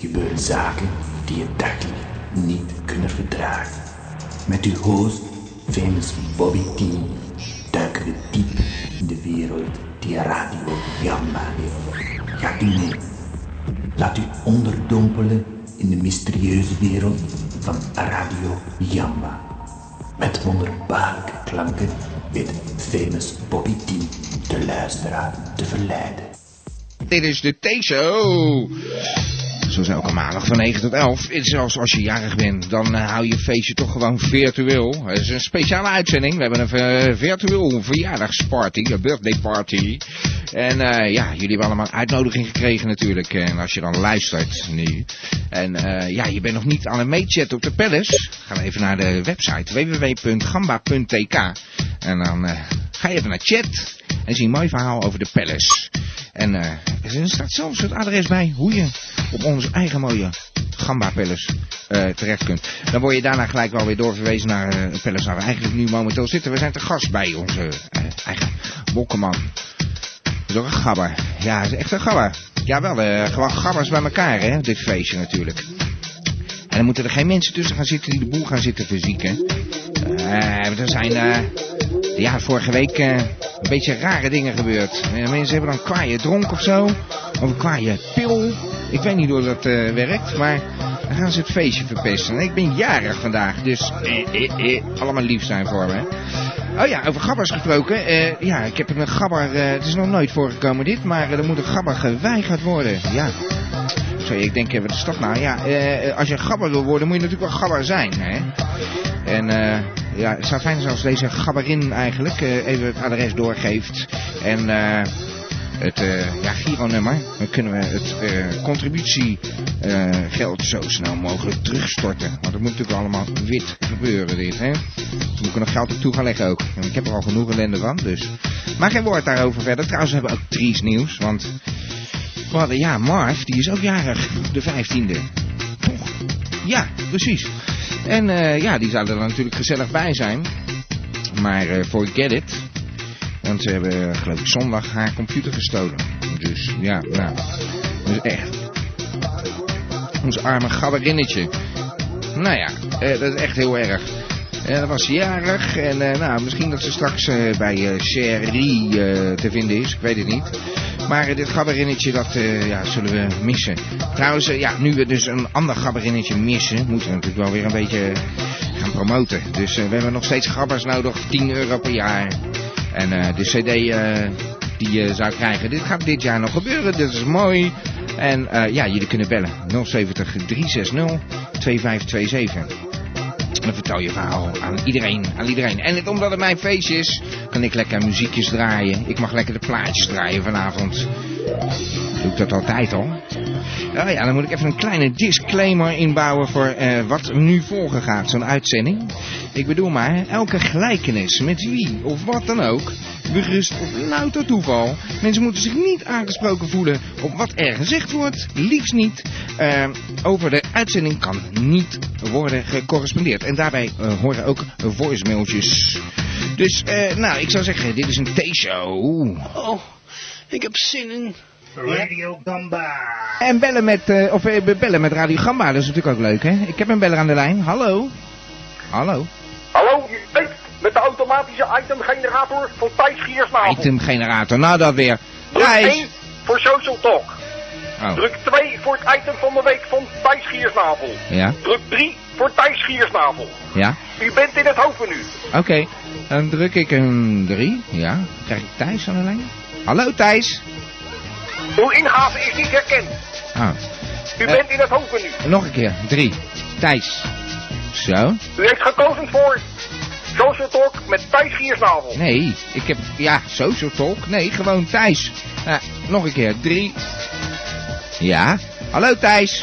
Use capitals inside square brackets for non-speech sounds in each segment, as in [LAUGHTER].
gebeuren zaken die je dagelijks niet kunnen verdragen. Met uw host, famous Bobby T, duiken we diep in de wereld die Radio Gamma heeft. Gaat u mee? Laat u onderdompelen in de mysterieuze wereld van Radio Jamba. Met wonderbaarlijke klanken weet famous Bobby T de luisteraar te verleiden. Dit is de T-show. Zo is elke maandag van 9 tot 11. En zelfs als je jarig bent, dan eh, hou je feestje toch gewoon virtueel. Het is een speciale uitzending. We hebben een eh, virtueel verjaardagsparty, een birthday party. En eh, ja, jullie hebben allemaal een uitnodiging gekregen natuurlijk. En als je dan luistert nu. En eh, ja, je bent nog niet aan het meechatten op de palace. Ga dan even naar de website www.gamba.tk. En dan eh, ga je even naar chat. En zie een mooi verhaal over de palace. En eh, er staat zelfs het adres bij hoe je op onze eigen mooie Gamba Palace eh, terecht kunt. Dan word je daarna gelijk wel weer doorverwezen naar eh een palace waar we eigenlijk nu momenteel zitten. We zijn te gast bij onze eh, eigen Bokkeman. Dat is ook een gabber. Ja, dat is echt een gabber. Jawel, eh, gewoon gabbers bij elkaar, hè, dit feestje natuurlijk. En dan moeten er geen mensen tussen gaan zitten die de boel gaan zitten verzieken. Eh, er zijn eh, ja, vorige week eh, een beetje rare dingen gebeurd. Eh, mensen hebben dan kwaaie dronk of zo. Of een kwaaie pil. Ik weet niet hoe dat eh, werkt, maar dan gaan ze het feestje verpesten. En ik ben jarig vandaag, dus eh, eh, eh, allemaal lief zijn voor me. Oh ja, over gabbers gesproken. Eh, ja, ik heb een gabber... eh, het is nog nooit voorgekomen dit, maar eh, er moet een gabber geweigerd worden. Ja, zo, ik denk even de stad nou. Ja, eh, als je gabber wil worden, moet je natuurlijk wel gabber zijn. Hè? En eh, ja, het zou fijn zijn als deze gabberin eigenlijk eh, even het adres doorgeeft. En eh, het eh, ja, Giro-nummer. Dan kunnen we het eh, contributiegeld zo snel mogelijk terugstorten. Want het moet natuurlijk allemaal wit gebeuren dit. Hè? Dus moet ik er nog geld op toe gaan leggen ook. En ik heb er al genoeg ellende van, dus. Maar geen woord daarover verder. Trouwens, we hebben ook triest nieuws. Want we hadden, ja, Marv, die is ook jarig, de 15e. Toch? Ja, precies. En eh, ja, die zouden er natuurlijk gezellig bij zijn. Maar eh, forget it. Want ze hebben, eh, geloof ik, zondag haar computer gestolen. Dus ja, nou. Dus echt. Ons arme gabberinnetje. Nou ja, eh, dat is echt heel erg. Eh, dat was jarig en eh, nou, misschien dat ze straks eh, bij eh Cherie eh, te vinden is, ik weet het niet. Maar eh, dit gabberinnetje, dat eh, ja, zullen we missen. Trouwens, eh, ja, nu we dus een ander gabberinnetje missen, moeten we natuurlijk wel weer een beetje eh, gaan promoten. Dus eh, we hebben nog steeds gabbers nodig, 10 euro per jaar. En eh, de cd eh, die je zou krijgen, dit gaat dit jaar nog gebeuren, dit is mooi. En eh, ja, jullie kunnen bellen, 070 360 2527. En dan vertel je verhaal aan iedereen, aan iedereen. En het, omdat het mijn feestje is, kan ik lekker muziekjes draaien. Ik mag lekker de plaatjes draaien vanavond. Doe ik dat altijd al. Nou ja, dan moet ik even een kleine disclaimer inbouwen voor eh, wat nu volgen gaat, zo'n uitzending. Ik bedoel maar, elke gelijkenis met wie of wat dan ook, berust op louter toeval. Mensen moeten zich niet aangesproken voelen op wat er gezegd wordt, liefst niet. Eh, over de uitzending kan niet worden gecorrespondeerd. En daarbij eh, horen ook voicemailtjes. Dus, eh, nou, ik zou zeggen, dit is een T-show. Oh, ik heb zin in. Radio Gamba. En bellen met, eh, of eh, bellen met Radio Gamba, dat is natuurlijk ook leuk, hè? Ik heb een beller aan de lijn. Hallo? Hallo? Hallo, je spreekt met de automatische itemgenerator van Thijs Giersnavel. Itemgenerator, nou dat weer. Druk Thijs! 1 voor Social Talk. Oh, Druk 2 voor het item van de week van Thijs Giersnavel. ja, Druk 3 voor Thijs Giersnavel. ja. U bent in het hoofdmenu. Oké, dan druk ik een 3. Ja, krijg ik Thijs aan de lijn? Hallo Thijs? Uw ingave is niet herkend. Ah, U bent in het hoofdmenu. nog een keer, 3. Thijs. Zo. U heeft gekozen voor Social Talk met Thijs Giersnavel. Nee, ik heb, ja, social talk. Nee, gewoon Thijs. Nou, nog een keer, 3. Ja. Hallo Thijs.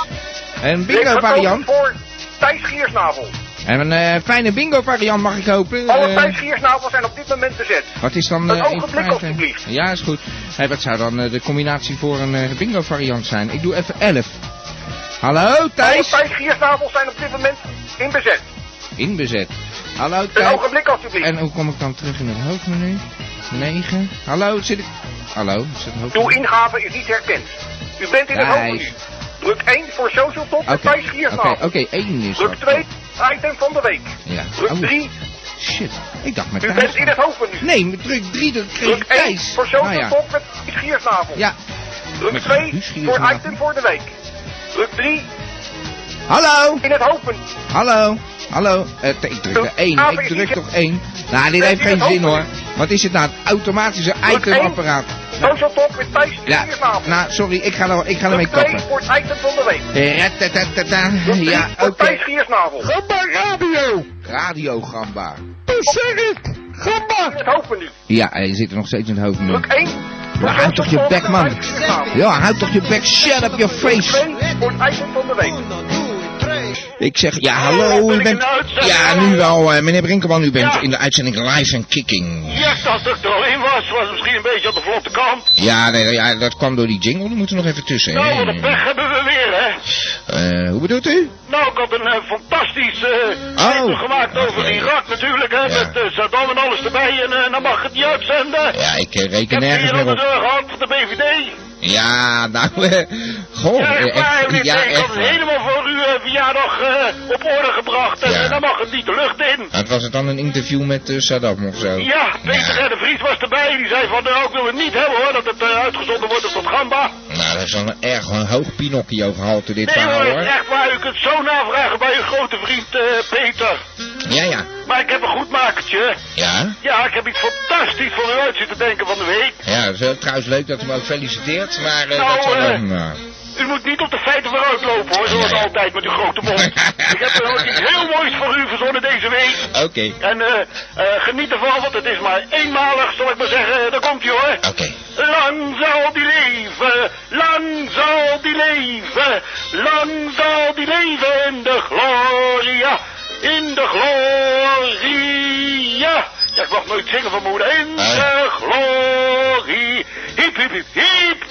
Een U heeft bingo gekozen variant. voor Thijs Giersnavel. En een eh, fijne bingo variant mag ik hopen. Alle Eh, Thijs Giersnavels zijn op dit moment bezet. Wat is dan... Een eh, in ogenblik, feite- alstublieft. Ja, is goed. Hé, wat zou dan eh, de combinatie voor een eh, bingo variant zijn? Ik doe even 11. Hallo Alle Thijs. Thijs Giersnavels zijn op dit moment in bezet. Inbezet. Hallo Een Thijs. ogenblik alstublieft. Eh, En hoe kom ik dan terug in het hoofdmenu? 9. Hallo, zit ik... Hallo, zit het hoofdmenu? Uw ingave is niet herkend. U bent in het Thijs. hoofdmenu. Druk 1 voor Social Top Oké, met Thijs Giersnaam. oké, oké, één is Druk dat. 2, item van de week. Ja. Druk Oh, 3, Shit, ik dacht met u Thijs. bent in het hoofd nu. Nee, met druk 3 dat kreeg Druk ik 1 Thijs. voor Social Nou ja. Top met Thijs Giersnavel. Ja. Druk Met 2 Guus Giersnavel. voor item voor de week. Druk 3 Hallo, in het hoofd. hallo, hallo. Eh, ik druk er 1, ik druk toch 1. Nou, dit heeft geen zin hoor. Wat is het nou, het automatische Druk één. itemapparaat. Social Top met Thijs Ja, Giersnavel. nou sorry, ik ga, er, ik ga ermee Druk 2 kappen. Eh, voor het item van de week. Ratatata. Druk 3 Ja, oh, oké. voor Thijs Giersnavel. Gamba Radio! Radio Gamba. Dat zeg ik! In Gamba! het hoofdmenu. Ja, hij zit er nog steeds in het hoofd. Druk man. 1 voor Ja, hou Social toch je Top bek, met man. Thijs Giersnavel. Ja, houd toch je bek. Shut up your Druk face. 2 voor het item van de week. Ik zeg, ja, hallo. U ik in bent... de uitzending? Ja, nu wel. eh, meneer Brinkelman, u bent Ja. in de uitzending live en kicking. Ja, dat ik er al in was, was het misschien een beetje aan de vlotte kant. Ja, nee, ja, dat kwam door die jingle. Die moeten we nog even tussen. Nou, wat een hè. pech hebben we weer, hè? Eh, hoe bedoelt u? Nou, ik had een eh, fantastisch eh statement Oh. gemaakt over Oké. Irak natuurlijk, hè? Ja. Met eh, Saddam en alles erbij, en eh, dan mag ik het niet uitzenden. Ja, ik eh, Ik heb reken hier nergens al meer de op. deur gehad van de BVD. Ja, nou, eh, goh. Ja, eh, echt waar, echt, meneer ja, Teer, ik echt. had het waar. helemaal voor uw eh, verjaardag eh, op orde gebracht. En Ja. eh, dan mag het niet de lucht in. Wat was het dan, een interview met eh, Saddam of zo? Ja, Peter R. de Vries was erbij. Die zei van, nou, ik wil het niet hebben hoor, dat het eh, uitgezonden wordt op dat gamba. Nou, dat is wel een erg een hoog Pinocchio gehalte dit Nee verhaal, hoor, hoor. echt waar. U kunt zo navragen bij uw grote vriend eh, Peter. Ja, ja. Maar ik heb een goed makertje. Ja? Ja, ik heb iets fantastisch voor u uit zitten denken van de week. Ja, dat is wel trouwens leuk dat u me ook feliciteert, maar eh, Nou, dat zal eh, dan... eh, U moet niet op de feiten vooruit lopen hoor, zoals Nee. altijd met uw grote mond. ik heb er ook iets heel moois voor u verzonnen deze week. Oké, En eh, eh, geniet ervan, want het is maar eenmalig, zal ik maar zeggen. Eh, Daar komt ie hoor. oké. Lang zal die leven, lang zal die leven, lang zal die leven in de gloria, in de gloria. Ja, ik mag nooit zingen van mijn moeder. In Ah. de glorie. Hiep, hiep, hiep, hiep.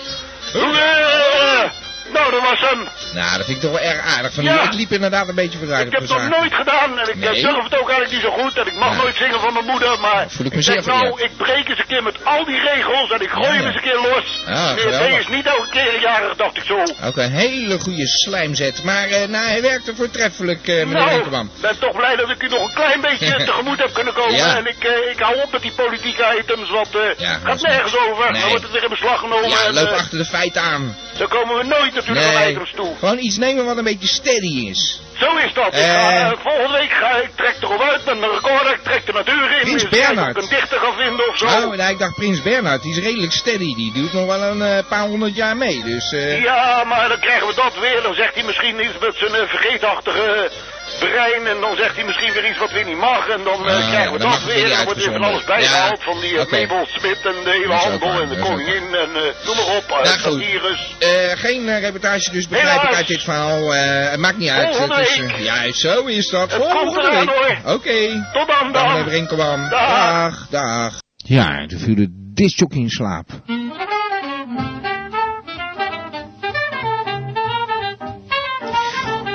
Hoera. Nou, dat was hem. Nou, dat vind ik toch wel erg aardig van u. Ja. Ik liep inderdaad een beetje vooruit Ik op heb de het nog zaak. nooit gedaan en ik Nee. eh, durf het ook eigenlijk niet zo goed. En ik mag Ja. nooit zingen van mijn moeder, maar Voel ik me ik zeer denk nou, vereerd. ik breek eens een keer met al die regels en ik gooi Ja, ja. hem eens een keer los. Ja, Nee, geweldig. nee, is niet elke keer een jarig, dacht ik zo. Ook een hele goede slijmzet, maar eh, nou, hij werkte voortreffelijk, eh, meneer nou, Winkelman. ik ben toch blij dat ik u nog een klein [LAUGHS] beetje tegemoet heb kunnen komen. Ja. En ik, eh, ik hou op met die politieke items, want eh Ja, dat gaat is nergens niet- over. Nee. Dan wordt het weer in beslag genomen. Ja, en, loop eh, achter de feiten aan. Zo komen we nooit natuurlijk aan Nee, items toe. gewoon iets nemen wat een beetje steady is. Zo is dat. Ik ga, Eh. eh, volgende week ga ik trek erop uit met mijn recorder, ik trek de natuur in. Prins Eens kijken of Bernhard. Ik een dichter ga vinden of zo. Nou, nou, ik dacht Prins Bernhard, die is redelijk steady. Die duurt nog wel een eh, paar honderd jaar mee, dus... eh, Ja, maar dan krijgen we dat weer. Dan zegt hij misschien iets met zijn eh, vergeetachtige eh, brein. En dan zegt hij misschien weer iets wat weer niet mag. En dan eh, Ah, ja, krijgen we dan mag dat het weer. weer En dan wordt weer van alles uitgezonden. bijgehaald. Ja, Van die oké. okay. Mabel Smit en de hele Dat is ook handel. waar, En de dat is ook koningin. En eh, noem maar op. eh, Nou, goed. Satyrus. Eh, geen eh, reportage dus begrijp ik Helaas. uit dit verhaal. Eh, het maakt niet uit. Volgende Het is, week. eh, ja, zo is dat. Het komt eraan, Oké. Tot dan Dan meneer dan. Brinkelman. Dag. Dag, dag. Ja, toen viel de discjockey in slaap.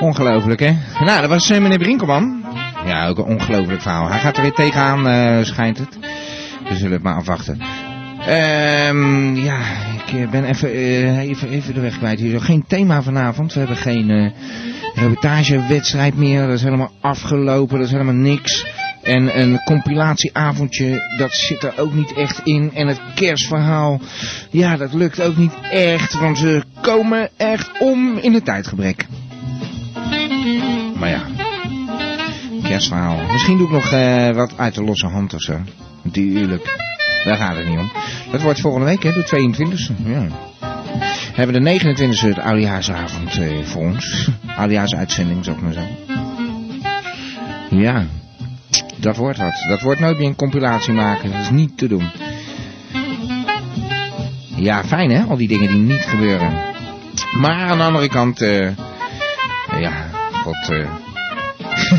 Ongelooflijk, hè? Nou, dat was eh, meneer Brinkelman. Ja, ook een ongelooflijk verhaal. Hij gaat er weer tegenaan, eh, schijnt het. We zullen het maar afwachten. Ehm ja, ik eh, ben even, eh, even, even de weg kwijt hier. zo. Geen thema vanavond. We hebben geen eh reportagewedstrijd meer. Dat is helemaal afgelopen. Dat is helemaal niks. En een compilatieavondje, dat zit er ook niet echt in. En het kerstverhaal, ja, dat lukt ook niet echt. Want ze komen echt om in het tijdgebrek. Maar ja, kerstverhaal. Misschien doe ik nog eh, wat uit de losse hand of zo. Tuurlijk. Daar gaat het niet om. Dat wordt volgende week, hè, de 22e. Ja. We hebben de 29e het oudejaarsavond eh, voor ons. [LAUGHS] Oudejaarsuitzending, zou ik maar zeggen. Ja, dat wordt wat. Dat wordt nooit meer een compilatie maken. Dat is niet te doen. Ja, fijn hè, al die dingen die niet gebeuren. Maar aan de andere kant, eh, ja, god, eh,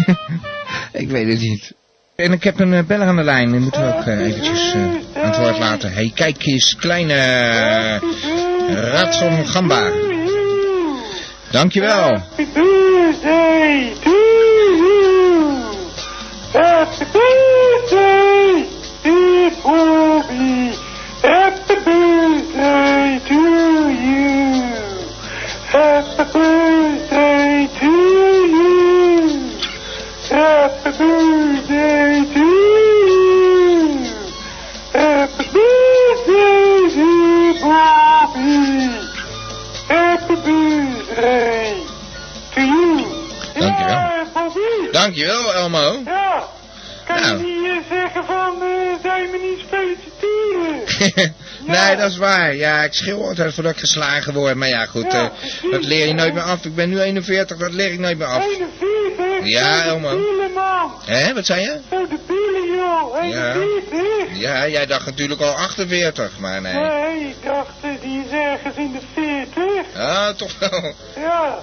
[LAUGHS] ik weet het niet. En ik heb een eh, beller aan de lijn, die moeten we ook eh, eventjes eh, aan het woord laten. hey, kijk eens, kleine uh, Ratson Gamba. Dankjewel. Happy birthday to you. Happy birthday. Dankjewel, Elmo. Ja, kan Nou. je niet eh, zeggen van, eh zijn me niet [LAUGHS] feliciteren? nee, dat is waar. Ja, ik schreeuw altijd voordat ik geslagen word. Maar ja, goed, Ja, eh, precies, dat leer je hè? nooit meer af. Ik ben nu 41, dat leer ik nooit meer af. 41? Ja, Zo Elmo. debielen, man. Hé, wat zei je? Zo debielen, joh. Ja. 41? Ja, jij dacht natuurlijk al 48, maar nee. Nee, ik dacht, eh, die is ergens in de 40. Ah, toch wel. Ja,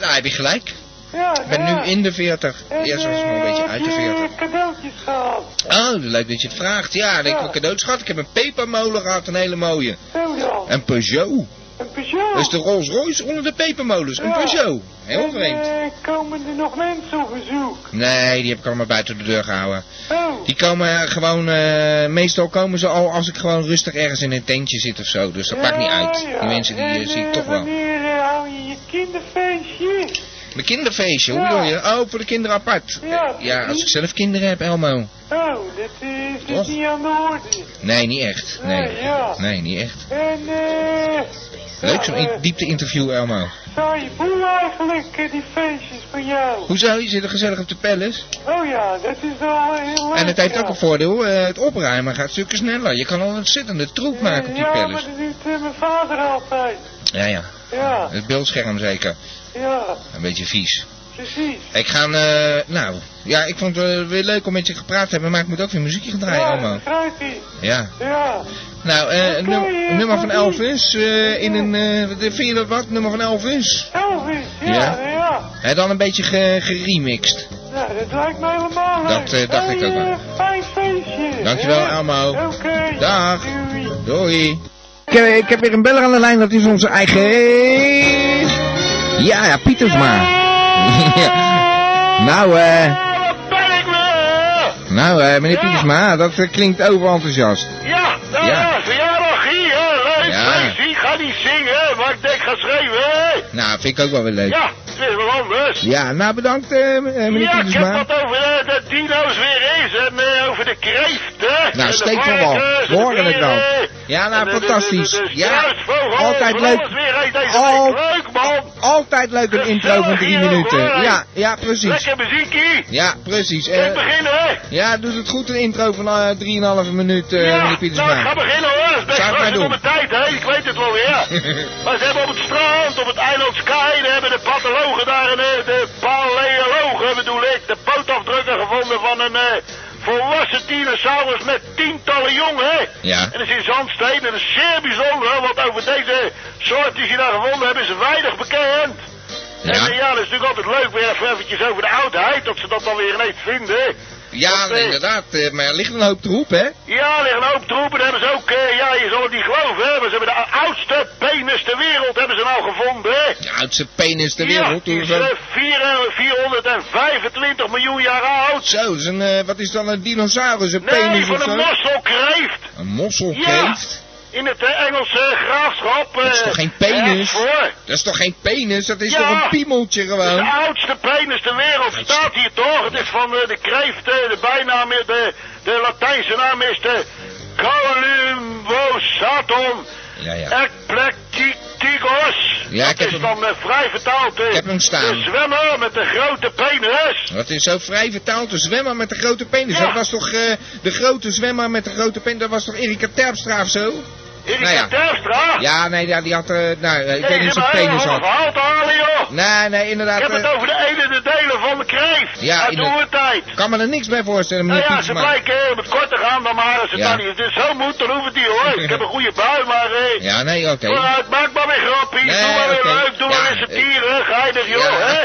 Nou, heb je gelijk. ja, Ik ben nu in de 40. En, Eerst was ik nog een eh, beetje heb uit de je 40. cadeautjes gehad? Oh, leuk dat je het vraagt. Ja, en ik Ja. heb een cadeautje gehad. Ik heb een pepermolen gehad, een hele mooie. Zo dan. Een Peugeot. Een Peugeot. Dat is de Rolls Royce onder de pepermolens. Een Ja. Peugeot. Heel En, vreemd. eh, komen er nog mensen op bezoek? Nee, die heb ik allemaal buiten de deur gehouden. Oh, Die komen eh, gewoon, eh, meestal komen ze al als ik gewoon rustig ergens in een tentje zit of zo. Dus dat maakt niet uit. Die mensen die eh, zie ik toch wel. wanneer eh, hou je je kinderfeestje? Mijn kinderfeestje, hoe Ja. bedoel je? Oh, voor de kinderen apart. Ja, Ja, als ik precies. zelf kinderen heb, Elmo. Oh, dat eh, is Toch? dus niet aan de orde. Nee, niet echt. Nee, Nee, ja. nee niet echt. En eh... Leuk ja, zo'n eh, in- diepte interview, Elmo. Saai boel eigenlijk, eh, die feestjes van jou. Hoezo? Je zit er gezellig op de palace. Oh ja, dat is wel heel leuk. En het heeft ja. ook een voordeel, eh, het opruimen gaat stukken sneller. Je kan al een zittende troep maken op die Eh, ja, pallets. maar dat doet eh, mijn vader altijd. Ja, ja. Ja, Het beeldscherm zeker. ja, Een beetje vies. precies. Ik ga, eh, nou, ja, ik vond het eh, weer leuk om met je gepraat te hebben, maar ik moet ook weer muziekje gaan draaien, ja, allemaal. Eh, begrijp je. Ja. Ja, Nou, eh, Oké, num- eh, nummer van Bobby. Elvis, eh, in een, eh, wat- vind je dat wat? Nummer van Elvis? Elvis, ja, Ja. ja. ja. En dan een beetje ge- geremixed. Nou, dat lijkt me helemaal leuk. Dat, eh, dacht ik Hey, ook wel. eh, Fijn feestje. Dankjewel, hè? Elmo. Oké. Dag. Doei. Doei. Ik heb, ik heb weer een beller aan de lijn, dat is onze eigen... Ja, ja, Pietersma. [LAUGHS] nou, eh... Ja, daar ben ik weer! Nou, eh, meneer Ja. Pietersma, dat eh, klinkt overenthousiast. Ja, nou Ja. ja, verjaardag hier, leuk Ja. feestje. Ik ga niet zingen, maar ik denk ga schrijven, hè. Nou, vind ik ook wel weer leuk. Ja, het is wel anders. Ja, nou bedankt, eh, m- eh, meneer Ja, ik heb Pietersma. wat over eh, de dino's weer eens en eh, over de [LAUGHS] kreeften. Nou, en steek de van wal. varkens en We hoorden de het al. beren. Ja, nou, En de- de- de- fantastisch. de- de Ja, struisvogel, altijd van leuk. alles weer eens deze Al- week. Leuk, man. Altijd leuk een intro van drie Gezellig Dus hier minuten. ook, hoor. Ja, ja, precies. Lekker muziekie. Ja, precies. Ik Eh begin, hè. ja, doet het goed een intro van eh, drieënhalve minuut, eh, ja, meneer nou, ik ga Pietersma. beginnen hoor. Dat is best Zou ik maar rustig doen. op de tijd, hè. Ik weet het [LAUGHS] wel weer. maar ze hebben op het strand, op het eiland Sky, daar hebben de pathologen daar, en, eh, de paleologen bedoel ik, de pootafdrukken gevonden van een eh, volwassen dinosaurus met tientallen jongen. Ja. En dat is in Zandsteen. En dat is zeer bijzonder, hè, want over deze soort die ze daar gevonden hebben is weinig bekend. Ja. En eh, ja, dat is natuurlijk altijd leuk weer even eventjes over de oudheid, dat ze dat dan weer ineens vinden. Ja, Want, eh, inderdaad. eh, maar er ligt een hoop troep, hè? ja, er liggen een hoop troepen. Daar hebben ze ook, eh, ja, je zal het niet geloven, hè, maar ze hebben de oudste penis ter wereld hebben ze nou gevonden, hè. De oudste penis ter Ja, wereld. die hoe is zo- eh, vier- eh, 425 miljoen jaar oud. Zo, dat is een, eh, wat is dan een dinosaurus? Een Nee, penis of van zo? een mosselkreeft. Een mosselkreeft? Ja. In het eh, Engelse graafschap. Dat is eh, toch geen penis? Hertford. Dat is toch geen penis? Dat is Ja. toch een piemeltje Het is gewoon? de oudste penis ter wereld staat hier toch? Het is van eh, de kreeft, eh, de bijnaam, is- de, de Latijnse naam is de Columbosatum Ja, ja. Eclecticus. Ja, ik Dat heb is hem- dan eh, vrij vertaald eh, Ik heb hem staan. de zwemmer met de grote penis. Dat is zo vrij vertaald, de zwemmer met de grote penis. Ja. Dat was toch eh, de grote zwemmer met de grote penis? Dat was toch Erika Terpstra of zo? Erika Nou ja. Terpstra. Ja, nee, ja, die had... eh, nou, eh, ik Nee, weet niet of ze ze een hebben een penis hele had. verhaal te halen, joh. Nee, nee, Ik inderdaad. heb het eh, over de ene de delen van de kreeft. Ja, Uit inderdaad. de tijd. kan me er niks bij voorstellen, Nou meneer ja, ze Pietersma. blijken eh, om het kort te gaan, dan maar als het Ja. dan niet dus zo moet, dan hoeft het niet hoor. Ik heb een goede bui, maar eh, Ja, Ah, nee, oké. vooruit, maak maar weer grappie, Nee, doe maar weer oké. leuk, doe maar Ja, weer satire, geinig joh, Ja. [LAUGHS] hè.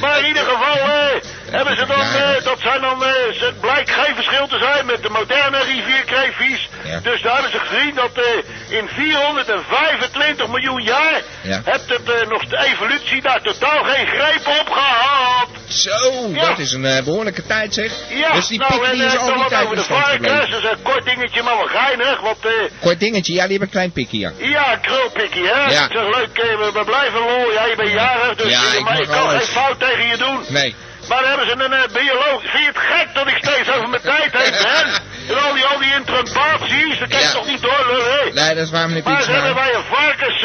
Maar in ieder geval eh, hebben ze dan, Ja. eh, dat zijn dan, eh, ze- het blijkt geen verschil te zijn met de moderne rivierkreefjes. Ja. Dus daar hebben ze gezien dat eh, in 425 miljoen jaar Ja. hebt het, eh, nog de evolutie daar totaal geen greep op gehad. Zo, Ja. dat is een eh, behoorlijke tijd, zeg. Ja, dus die nou, pik en die eh, is dan al die wat tijd over de bestand varkens. gebleven. Dat is een kort dingetje, maar wel geinig. Want eh, Kort dingetje, ja, die hebben een klein pikje, ja. ja, een krulpikkie, hè? Ja. Ik zeg, leuk, eh, we, we blijven lol. Ja, je bent jarig, dus Ja, eh, ik maar mag ik kan alles. geen fout tegen je doen. Nee. [LAUGHS] Maar dan hebben ze een eh, bioloog. Vind je het gek dat ik steeds over mijn tijd heen ben? En al die, al die intrompaties, dat kan je Ja. toch niet door, hè? Nee, dat is waar, meneer Maar ze hebben Pietersma. bij een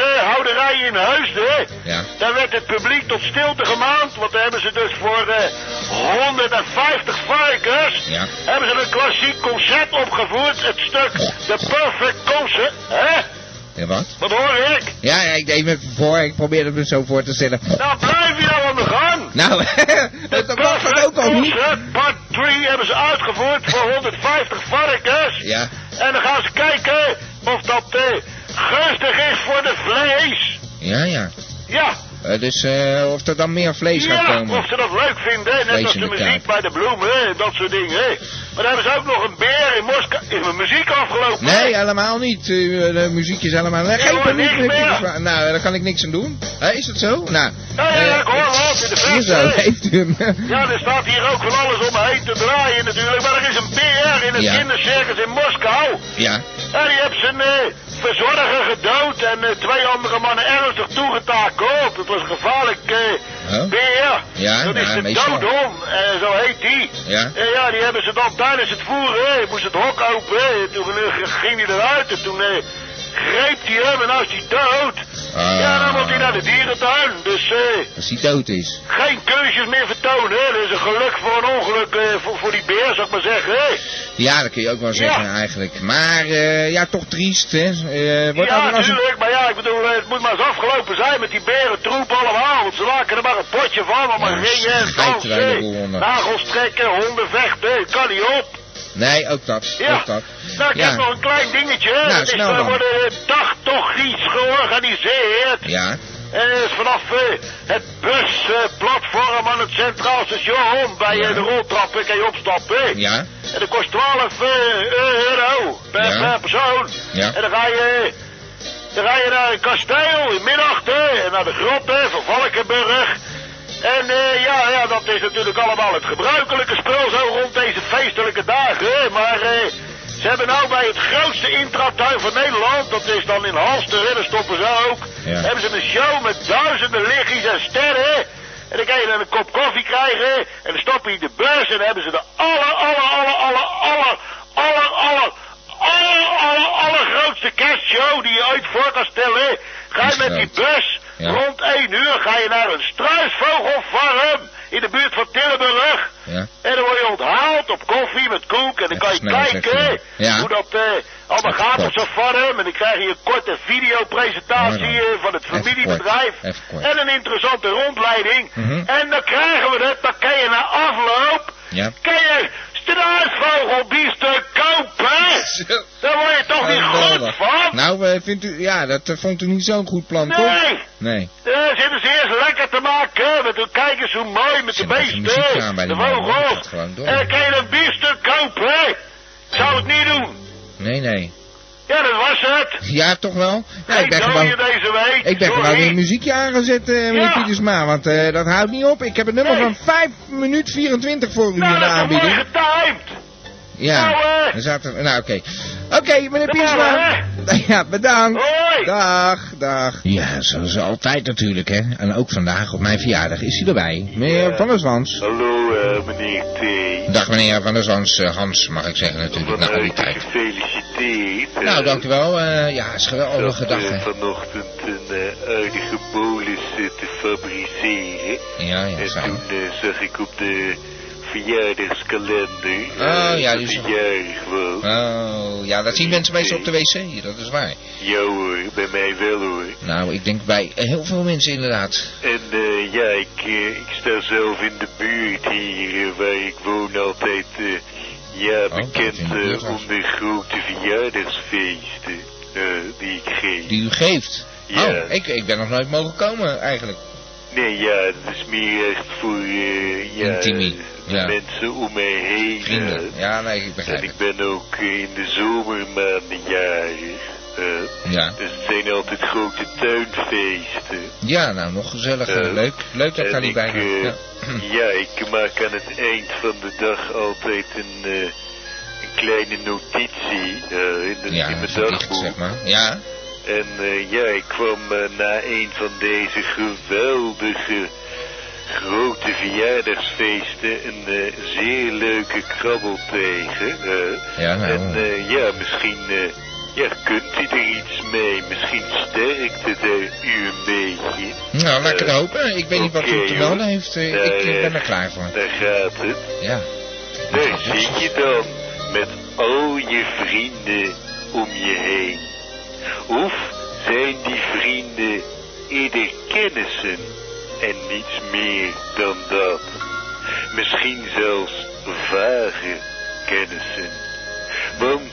varkenshouderij in Heusden, hè? Ja. Daar werd het publiek tot stilte gemaand, want daar hebben ze dus voor eh, 150 varkens... Ja. hebben ze een klassiek concert opgevoerd, het stuk The Perfect Concert, hè? Ja, wat? Wat hoor ik? Ja, ja, ik deed me voor. Ik probeerde me zo voor te stellen. Nou, blijf je nou aan de gang! Nou, [LAUGHS] dat was het ook al niet. Concert Part 3 hebben ze uitgevoerd voor 150 varkens. Ja. En dan gaan ze kijken of dat eh, gunstig is voor de vlees. Ja, ja. Ja, Eh, dus eh, of er dan meer vlees gaat ja komen. of ze dat leuk vinden. hè. Net Vlees als in de de muziek kaart. bij de bloemen, hè, dat soort dingen. hè. Maar daar hebben ze ook nog een beer in Moskou. Is mijn muziek afgelopen? hè? Nee, helemaal niet. Eh, De muziek is helemaal... Nee, geen hoor, paniek, niks meneer meer. Pietersma. Nou, daar kan ik niks aan doen. Hè, is dat zo? Nou. Ja, ja, ja, ik hoor wat in de eh. verte, Zo, hè. heeft u hem. Ja, er staat hier ook van alles om me heen te draaien natuurlijk. Maar er is een beer in het Ja. kindercircus in Moskou. [LAUGHS] Ja. En die heeft zijn eh, verzorger gedood en eh, twee andere mannen ernstig toegetakeld. Het was een gevaarlijk eh, Huh? beer. Oh. Ja, dat is ja, de meestal. doodhond, eh, zo heet die. Ja. Eh, ja, die hebben ze dan tijdens het voeren, eh, moest het hok open. eh, toen eh, ging hij eruit en toen eh, greep hij hem en nou is hij dood. Ah. Ja, dan moet hij naar de dierentuin. Dus eh, Als hij dood is. geen keuzes meer vertonen. Hè. Dat is een geluk voor een ongeluk eh, voor, voor die beer, zou ik maar zeggen. hè. Ja, dat kun je ook wel zeggen Ja. eigenlijk. Maar eh, ja, toch triest, hè? Eh, wordt ja, dat wel eens een- natuurlijk, maar ja, ik bedoel, eh, het moet maar eens afgelopen zijn met die berentroep allemaal. Want ze maken er maar een potje van, maar maar eh. ringen en schijt er een heleboel dansen. onder. Nagels trekken, honden vechten, het kan niet op. Nee, ook dat. Ja, Ook dat. nou, ik ja. heb nog een klein dingetje. hè. Nou, dat is, snel er dan. worden eh, dagtochtjes georganiseerd. Ja. Eh, vanaf eh, het busplatform aan het Centraal Station bij eh, Ja. de roltrappen kan je opstappen. hè. Ja. En dat kost 12 eh, euro per, Ja. per persoon. Ja. En dan ga je. Dan ga je naar een kasteel in Middachten en naar de grotten van Valkenburg. En eh, ja, ja, dat is natuurlijk allemaal het gebruikelijke spul zo rond deze feestelijke dagen. hè. Maar eh, ze hebben nou bij het grootste intratuin van Nederland, dat is dan in Halster, hè, daar stoppen ze ook. Ja. Hebben ze een show met duizenden lichtjes en sterren. En dan kan je dan een kop koffie krijgen. En dan stop je in de bus en dan hebben ze de aller, aller, aller, aller, aller, aller, aller, aller, aller, allergrootste kerstshow die je ooit voor kan stellen. Ga je Is met die groot. bus Ja. rond 1 uur ga je naar een struisvogelfarm in de buurt van Tilburg. Ja. En dan word je onthaald op koffie met koek. En dan Even kan je snel, zegt kijken hij. Ja. hoe dat eh, allemaal Even gaat op kort. zo'n farm. En dan krijg je een korte videopresentatie Mooi dan. eh, van het Even familiebedrijf. kort, even kort. En een interessante rondleiding. Mhm. En dan krijgen we het. Dan kan je na afloop... Ja. Kan je struisvogelbiesten kopen. Zo. Daar word je toch niet goed Geweldig. van? Nou, eh, vindt u, ja, dat eh, vond u niet zo'n goed plan, toch? Nee. Nee. Ja, zitten ze eerst lekker te maken. Met hun kijkers hoe mooi met de Zet maar even muziek aan beesten. bij De die man, hoor. Dat vogels. gaat gewoon door. En dan kan je een biefstuk kopen, hè? Ik zou het niet doen. Nee, nee. Ja, dat was het. Ja, toch wel? Ja, Geen ik ben dode gewoon... deze week. Ik ben Sorry. gewoon een muziekje aangezet, eh meneer Ja. Pietersma, want eh, dat houdt niet op. Ik heb een nummer Nee. van 5 minuut 24 voor u in Nou, de dat is toch mooi aanbieding. getimed. Ja, Nou, eh. dan zaten we- Nou, oké. Oké, meneer Dan Pietersma. [LAUGHS] Ja, bedankt. Hoi. Dag, dag. Ja, zoals altijd natuurlijk, hè. En ook vandaag op mijn verjaardag is hij erbij. Meneer Van der Zwans. Hallo eh, meneer T. Dag meneer Van der Zwans. eh, Hans, mag ik zeggen natuurlijk, na al die Vanuit tijd. gefeliciteerd. eh, Nou, dank u wel. Eh, ja, is een dat, geweldige dag, eh, hè. vanochtend een eh, aardige bolus eh, te fabriceren. Ja, ja, en zo. toen eh, zag ik op de verjaardagskalender Oh, eh, ja, die is dat hij nog- jarig was. Oh, ja, dat zien mensen meestal op de wc. Dat is waar. Ja hoor, bij mij wel hoor. Nou, ik denk bij heel veel mensen inderdaad. En eh, ja, ik, eh, ik sta zelf in de buurt hier eh, waar ik woon altijd... eh, ja, Oh, dat bekend in de eh, buurt was. om de grote verjaardagsfeesten eh, die ik geef. Die u geeft. Ja. Oh, ik, ik ben nog nooit mogen komen eigenlijk. Nee, ja, het is meer echt voor eh, ja, Intimie, de ja. mensen om mij heen. Vrienden. eh. Ja, nee, ik begrijp En het. ik ben ook eh, in de zomermaanden jarig. eh. Ja. dus het zijn altijd grote tuinfeesten. Ja, nou, nog gezelliger. Eh, leuk. Leuk dat daar en niet ik, bij eh, bent. [CLEARS THROAT] ja, ik maak aan het eind van de dag altijd een, eh, een kleine notitie eh, in, de, Ja, in ja mijn gedicht, dagboek. zeg maar. Ja, En eh, ja, ik kwam eh, na een van deze geweldige grote verjaardagsfeesten een eh, zeer leuke krabbel tegen. eh. Ja, nou. En eh, ja, misschien eh, ja, kunt u er iets mee. Misschien sterkt het eh, u een beetje. Nou, laat ik het Eh, hopen. Ik weet niet wat u oké, te hoor. melden heeft. Eh, Daar, Ik eh, ben eh, er klaar voor. Daar gaat het. Ja. Daar zit je dan met al je vrienden om je heen. Of zijn die vrienden eerder kennissen en niets meer dan dat? Misschien zelfs vage kennissen. Want,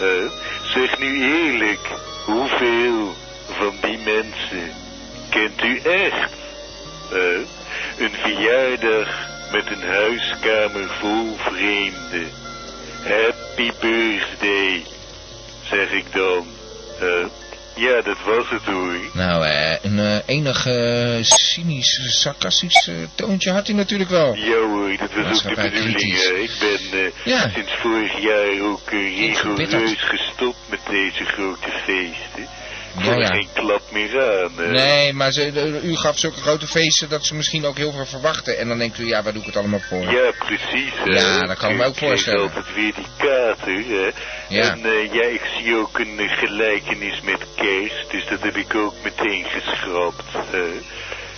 eh, zeg nu eerlijk, hoeveel van die mensen kent u echt? Eh, een verjaardag met een huiskamer vol vreemden. Happy birthday, zeg ik dan. Eh, ja, dat was het hoor. Nou, eh, een eh, enig eh, cynisch, sarcastisch eh, toontje had hij natuurlijk wel. Ja hoor, dat was ook de Maatschappij bedoeling. kritisch. hè. Ik ben eh, Ja. sinds vorig jaar ook eh, Niet rigoureus verbitterd. gestopt met deze grote feesten. Ik Ja, kon er ja. geen klap meer aan. hè. Nee, maar ze, de- u gaf zulke grote feesten dat ze misschien ook heel veel verwachten. En dan denkt u, ja, waar doe ik het allemaal voor? Ja, precies. hè. Ja, dat kan ik me ook kreeg voorstellen. altijd weer die kater, hè. Ja. En eh, ja, ik zie ook een eh, gelijkenis met Kees, dus dat heb ik ook meteen geschrapt. hè.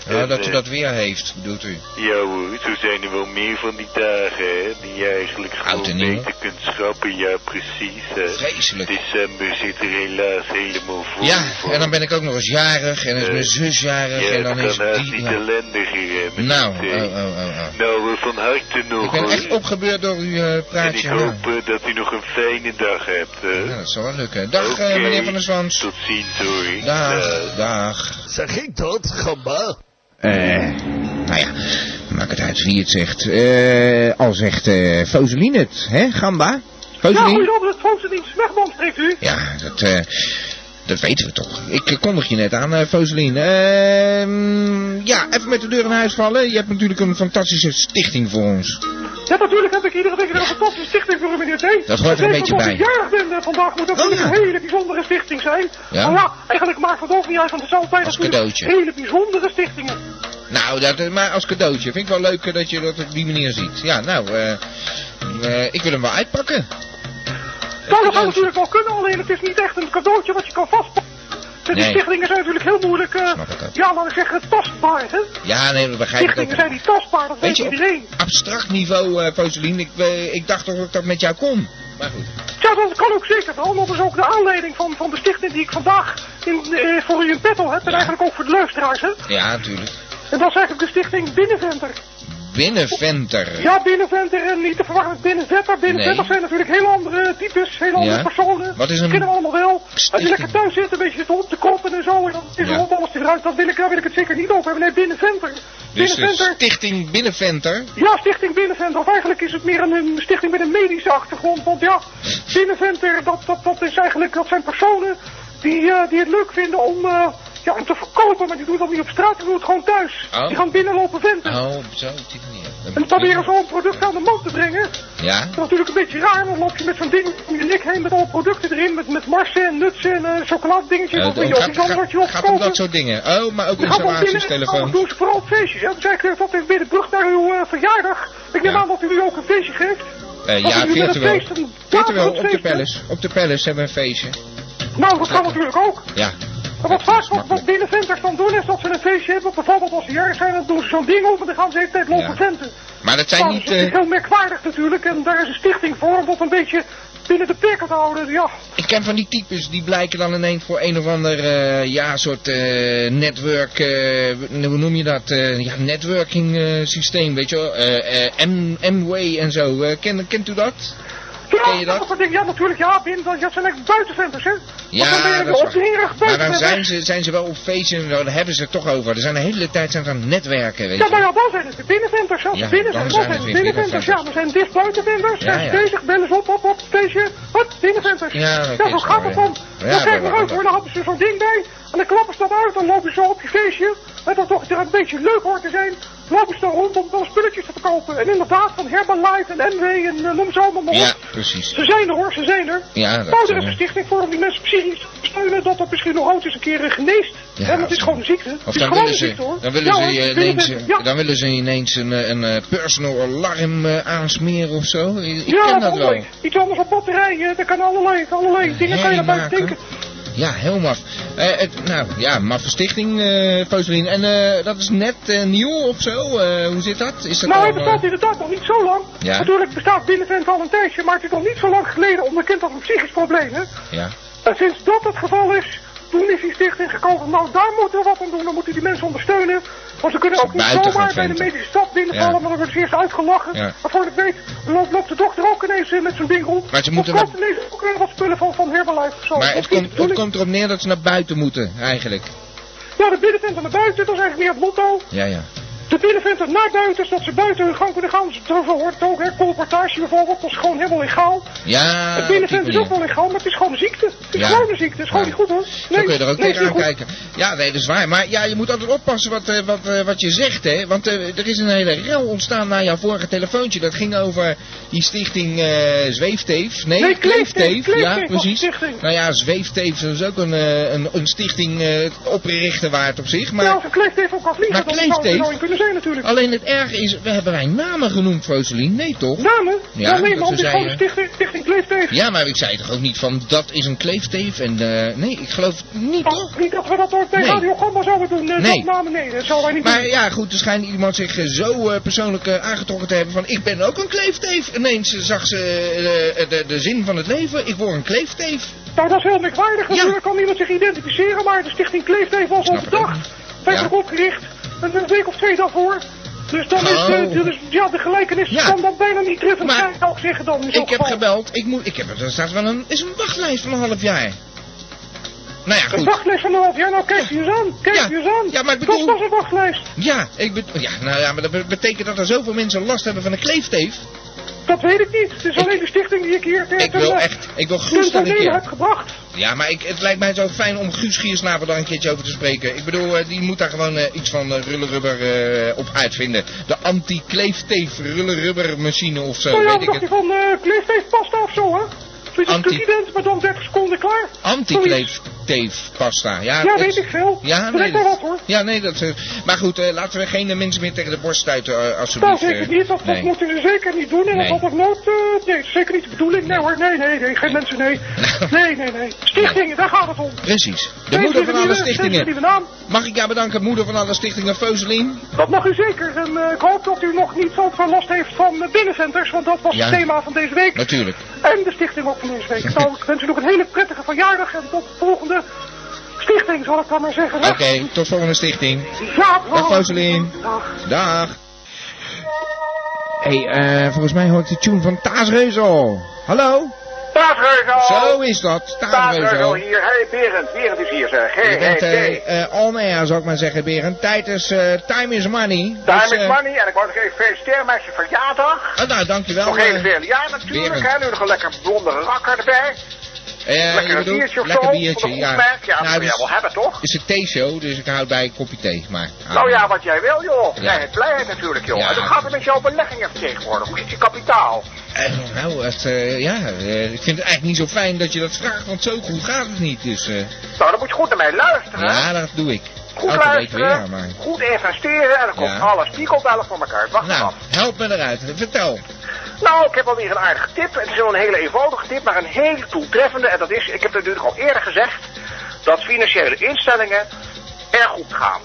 Ja, En, Nou, dat u eh, dat weer heeft, bedoelt u? Ja hoor, zo zijn er wel meer van die dagen, hè, die je eigenlijk Oud en gewoon nieuw. beter kunt schrappen. Ja, precies, hè. Vreselijk. December zit er helaas helemaal vol Ja, voor. en dan ben ik ook nog eens jarig. En dan is Eh, mijn zus jarig. Ja, en het dan kan is haast die... nou. niet ja. ellendiger, hè, met Nou, die oh, thee. oh, oh, oh. Nou, eh, van harte nog, Ik ben hoor. echt opgebeurd door uw eh, En ik praatje. ja. hoop eh, dat u nog een fijne dag hebt. hè. Ja, dat zal wel lukken. Dag, Oké. eh, meneer Van der Zwans. Tot ziens hoor. Dag. Dag, dag. Zeg ik dat, gamba? Eh, nou ja, maakt het uit wie het zegt. Eh, al zegt eh Foseline het, hè, Gamba? Ja, Foseline? goeiedag, dat Foseline Smegman spreekt u. Ja, dat, eh, dat weten we toch. Ik eh, kondig je net aan, eh Foseline. Ehm, ja, even met de deur in huis vallen. Je hebt natuurlijk een fantastische stichting voor ons. Ja, natuurlijk heb ik iedere week weer een fantastische stichting voor u, meneer T. Dat hoort er een Zeker beetje omdat bij. ik jarig ben eh, vandaag, moet dat Oh, natuurlijk ja. een hele bijzondere stichting zijn. Ja. Maar ja, eigenlijk maakt het ook niet uit, want het is altijd Als natuurlijk cadeautje. hele bijzondere stichtingen. Nou, dat, eh, maar als cadeautje. Vind ik wel leuk eh, dat je dat op die manier ziet. Ja, nou, eh, eh, ik wil hem wel uitpakken. Nou, dat zou cadeautje. natuurlijk wel kunnen, alleen het is niet echt een cadeautje wat je kan vastpakken. Dus Nee. Die stichtingen zijn natuurlijk heel moeilijk, eh, Snap ik ook. ja, laat ik zeggen, tastbaar, hè. Ja, nee, dat begrijp ik ook. Stichtingen wel. zijn niet tastbaar, dat Weet weet je, iedereen. op abstract niveau, eh Foseline, ik, eh, ik dacht toch dat ik dat met jou kon. Maar goed. Ja, dat kan ook zeker wel. Dat is ook de aanleiding van, van de stichting die ik vandaag in, eh, voor u in petto heb. En Ja. eigenlijk ook voor de luisteraars. Hè? Ja, natuurlijk. En dat is eigenlijk de stichting Binnenventer. Binnenventer. Ja, Binnenventer en niet te verwachten met Binnenvetter. Binnenvetter Nee. zijn natuurlijk heel andere types, heel andere Ja. personen. Wat is een Kennen we allemaal wel. Als je stichting? lekker thuis zit, een beetje te op te kroppen en zo. En dan is Ja. er rond alles eruit. Dan wil ik, daar wil ik het zeker niet over hebben. Nee, Binnenventer. Dus de Binnenventer. stichting Binnenventer. Ja, Stichting Binnenventer. Of eigenlijk is het meer een, een stichting met een medische achtergrond. Want ja, Binnenventer, dat, dat, dat, is eigenlijk, dat zijn personen die, eh, die het leuk vinden om, eh, ja, om te verkopen. Maar die doen dat niet op straat, die doen het gewoon thuis. Oh. Die gaan binnenlopen venten. Oh, op zo'n die manier. En proberen zo'n product aan de man te brengen. Ja? Dat is natuurlijk een beetje raar, want dan loop je met zo'n ding om je nek heen met alle producten erin. Met, met marsen en nuts en eh chocoladdingetjes. Eh, of een het jochie gaat, kan wat je gaat, gaat om dat opkopen. soort dingen. Oh, maar ook Ga dan binnen en dan installatiestelefoon. doen ze vooral op feestjes. Hè? Dus eigenlijk eh, dat is weer de brug naar uw eh, verjaardag. Ik neem Ja. aan dat u nu ook een feestje geeft. Eh Als ja, jullie willen virtueel. feesten, laten we Virtueel het op de feesten. Palace. Op de Palace hebben we een feestje. Nou, dat kan natuurlijk ook. Ja. Maar Dat wat is vaak wat, wat makkelijk. binnenventers dan doen is dat ze een feestje hebben. Bijvoorbeeld als ze jarig zijn, dan doen ze zo'n ding op en dan gaan ze de hele tijd lopen Ja. venten. Maar dat zijn Nou, niet... dat is eh, natuurlijk heel merkwaardig natuurlijk. En daar is een stichting voor om dat een beetje binnen de perken te houden. Ja, Ik ken van die types, die blijken dan ineens voor een of ander, eh, ja, soort eh network, eh, hoe noem je dat, eh, ja, networking eh, systeem, weet je wel, Eh, eh, M- M-Way en zo. Eh, ken, kent u dat? ja Ken je dat? soort dingen. Ja, natuurlijk. Ja, binnen, dat dat zijn echt buitenventers, hè. Want dan ben je Ja, dat is waar. opdringerig Maar dan zijn buitenventers. ze, zijn ze wel op feestjes en zo, daar hebben ze het toch over. Er zijn de hele tijd zijn ze aan het netwerken, weet Ja, maar je ja, dan zijn het de binnenventers. Ja, Ja, de binnenventers, dan dat zijn zijn het de weer binnenventers. Ja, binnenventers. we zijn dicht buitenventers. Ja, Ja, ja. bezig, bellen ze op, op, op, feestje. Wat, binnenventers. Ja, dat ja zo is gaat waar, het dan. ja. Ja, dan dat- zijn we dat- eruit hoor, dan hebben ze zo'n ding bij. En dan klappen ze dat uit, dan lopen ze zo op je feestje. En dan toch er een beetje leuk hoort te zijn. Lopen ze dan rond om dan spulletjes te kopen. En inderdaad, van Herbalife en NW en eh, noem ze allemaal maar op. Ja, precies. Ze zijn er hoor, ze zijn er. Ja, dat, Bouw er eh, even een stichting voor om die mensen psychisch te steunen dat dat misschien nog ooit eens een keer eh, geneest. Ja, Ja, want het of- is gewoon een ziekte. Het Of is dan gewoon willen een ze, ziekte hoor. dan willen Ja, ze hoor, je binnen- ineens, eh, ja. dan willen ze ineens een, eh, een eh, personal alarm eh, aansmeren of zo. Ik, ik ja, ken dat wel. behoorlijk. Iets anders op batterijen, daar kan allerlei, allerlei dingen kan je Herrie erbij denken. Ja, heel maf. Eh, het, nou ja, maffe stichting, eh Foselien. En eh, dat is net eh, nieuw of zo? Eh, hoe zit dat? Is dat Nou, al, hij eh, bestaat inderdaad nog niet zo lang. Ja. Natuurlijk bestaat Binnenvent al een tijdje, maar het is nog niet zo lang geleden onderkend als een psychisch probleem. Hè? Ja. En sinds dat het geval is, toen is die stichting gekomen. Nou, daar moeten we wat aan doen. Dan moeten die mensen ondersteunen. Want ze kunnen ook niet Buiten gaan zomaar bij de venten. medische stad binnenvallen, Ja. want dan worden ze eerst uitgelachen. Ja. Maar voor ik weet, loopt, loopt de dokter ook ineens eh, met zijn ding rond. Maar ze moeten Of koopt ineens ook weer wat spullen van, van Herbalife of zo. Maar het Of niet, komt, bedoel het ik. komt erop neer dat ze naar buiten moeten, eigenlijk. Ja, de binnenvent naar buiten, dat is eigenlijk meer het motto. Ja, ja. De binnenventer naar buiten, zodat ze buiten hun gang kunnen gaan. Dus Daarvoor hoort het ook, hè. Colportage bijvoorbeeld, dat is gewoon helemaal legaal. Ja, het op die binnenvent is manier. ook wel legaal, maar het is gewoon een ziekte. Het is Ja. gewoon een ziekte, het is gewoon Ja. niet goed hoor. Zo kun je er ook nee, tegenaan het is niet kijken. Ja, nee, dat is waar. Maar ja, je moet altijd oppassen wat, eh, wat, eh, wat je zegt, hè. Want eh, er is een hele rel ontstaan na jouw vorige telefoontje. Dat ging over die stichting eh Zweefteef. Nee, Nee, Kleefteef. Ja, Kleefteef was precies. die stichting. Nou ja, Zweefteef is ook een, eh, een, een stichting eh oprichten waard op zich. Maar Ja, als een kleefteef ook kan vliegen, Maar dan zou het er kleefteef- zo in kunnen zijn natuurlijk. alleen het erg is, we hebben wij namen genoemd, Rosalien. Nee, toch? Namen? Ja, Ja, nee, dat man, het ze is gewoon zeiden- een stichting, stichting kleefteef. Ja, maar ik zei toch ook niet van dat is een kleefteef en eh, nee, ik geloof het niet toch? Oh, niet dat we dat ook bij Nee. Radio Gamma zouden doen. eh, Nee. Dat namen, nee, dat zouden wij niet Maar doen. ja, goed, er schijnt iemand zich eh, zo eh, persoonlijk eh, aangetrokken te hebben van ik ben ook een kleefteef. Ineens eh, zag ze eh, de, de zin van het leven, ik word een kleefteef. Nou, dat is heel merkwaardig. Ja. Natuurlijk kan niemand zich identificeren, maar de stichting Kleefteef was al Snap ik. verdacht. Werd Ja. ook opgericht. Een een week of twee daarvoor. Dus dan is de, Oh. de- dus, ja, de gelijkenis Ja. kan dan bijna niet treffend Maar- zijn, zou ik zeggen dan. in zo'n Ik heb geval. gebeld, ik moet, ik heb, er staat wel een, is een wachtlijst van een half jaar. Nou ja, Een goed. wachtlijst van een half jaar, nou kijk je eens aan, kijk Ja. je eens aan. Ja, maar ik Dat bedoel- was een wachtlijst. Ja, ik bet- ja, nou ja, maar dat be- betekent dat er zoveel mensen last hebben van een kleefteef. Dat weet ik niet. Het is alleen de stichting die ik hier ter Ik wil echt, ik wil Guus dat een toneel heb keer. gebracht. Ja, maar ik, het lijkt mij zo fijn om Guus Giersnaper daar een keertje over te spreken. Ik bedoel, eh, die moet daar gewoon eh, iets van eh, rullerubber eh, op uitvinden. De anti-kleefteef rullerubbermachine of zo, Nou ja, wat weet ik dacht je het. van eh Kleefteef pasta of zo, hè? Dus Zoiets als Anti- student, maar dan 30 seconden klaar. Zoiets. Anti-kleefteef pasta. Ja, Ja, dat- weet ik veel. Ja, Er nee. is wel dat- wat, hoor. Ja, nee, dat... eh, maar goed, eh, laten we geen eh, mensen meer tegen de borst stuiten, eh, Nou, alsjeblieft. zeker eh, niet. Dat, dat nee. moeten ze zeker niet doen. En Nee. dat had ook nooit... eh, nee, zeker niet de bedoeling. Nee hoor, nee, nee, nee. Geen mensen, nee. Nee, nee, nee. Stichtingen, daar gaat het om. Precies. De Mensen moeder van die alle we- mensen die stichtingen. we naam. Mag ik jou bedanken, moeder van alle stichtingen, Feuselien? Dat mag u zeker. En eh, ik hoop dat u nog niet zoveel last heeft van eh, binnencenters. Want dat was Ja. het thema van deze week. Natuurlijk. En de stichting ook van deze week. Nou, ik wens u nog een hele prettige verjaardag. En tot de volgende stichting, zal ik dan maar zeggen. hè? Oké, tot volgende stichting. Ja, Dag, Rosalien. Dag. Dag. hey, eh, volgens mij hoor ik de tune van Taas Reuzel. Hallo? Taas Reuzel! Zo is dat, Taas Taas Reuzel. Reuzel oh, hier. Hey Berend, Berend is hier zeg. Hey, hey, Je bent hey. eh eh on air, zou ik maar zeggen, Berend. Tijd is, eh, time is money. Time Dus, is eh, money en ik wou nog even feliciteren met zijn verjaardag. ah, nou, dankjewel. Nog eh, even veel. Ja, natuurlijk. Berend. Hè, nu nog een lekker blonde rakker erbij. eh, lekker je een bedoelt- biertje of lekker zo. biertje, van een goed ja. merk. Ja, dat nou, wil jij dus- wel hebben, toch? Het is een theeshow, dus ik houd bij een kopje thee. Maar, ah, Nou ja, wat jij wil, joh. Ja. Blijheid, blijheid natuurlijk, joh. Ja. En hoe gaat het met jouw beleggingen tegenwoordig? Hoe is je kapitaal? eh, nou, het, eh, ja, eh, ik vind het eigenlijk niet zo fijn dat je dat vraagt, want zo goed gaat het niet. Dus eh, Nou, dan moet je goed naar mij luisteren. ja, dat doe ik. Goed Elke week weer, luisteren, ja, maar... goed investeren en dan komt Ja. alles. Die komt alles voor elkaar. Wacht nou. Nou, help me eruit. Vertel. Nou, ik heb alweer een aardige tip. Het is wel een hele eenvoudige tip, maar een heel doeltreffende. En dat is, ik heb het natuurlijk al eerder gezegd, dat financiële instellingen erg goed gaan.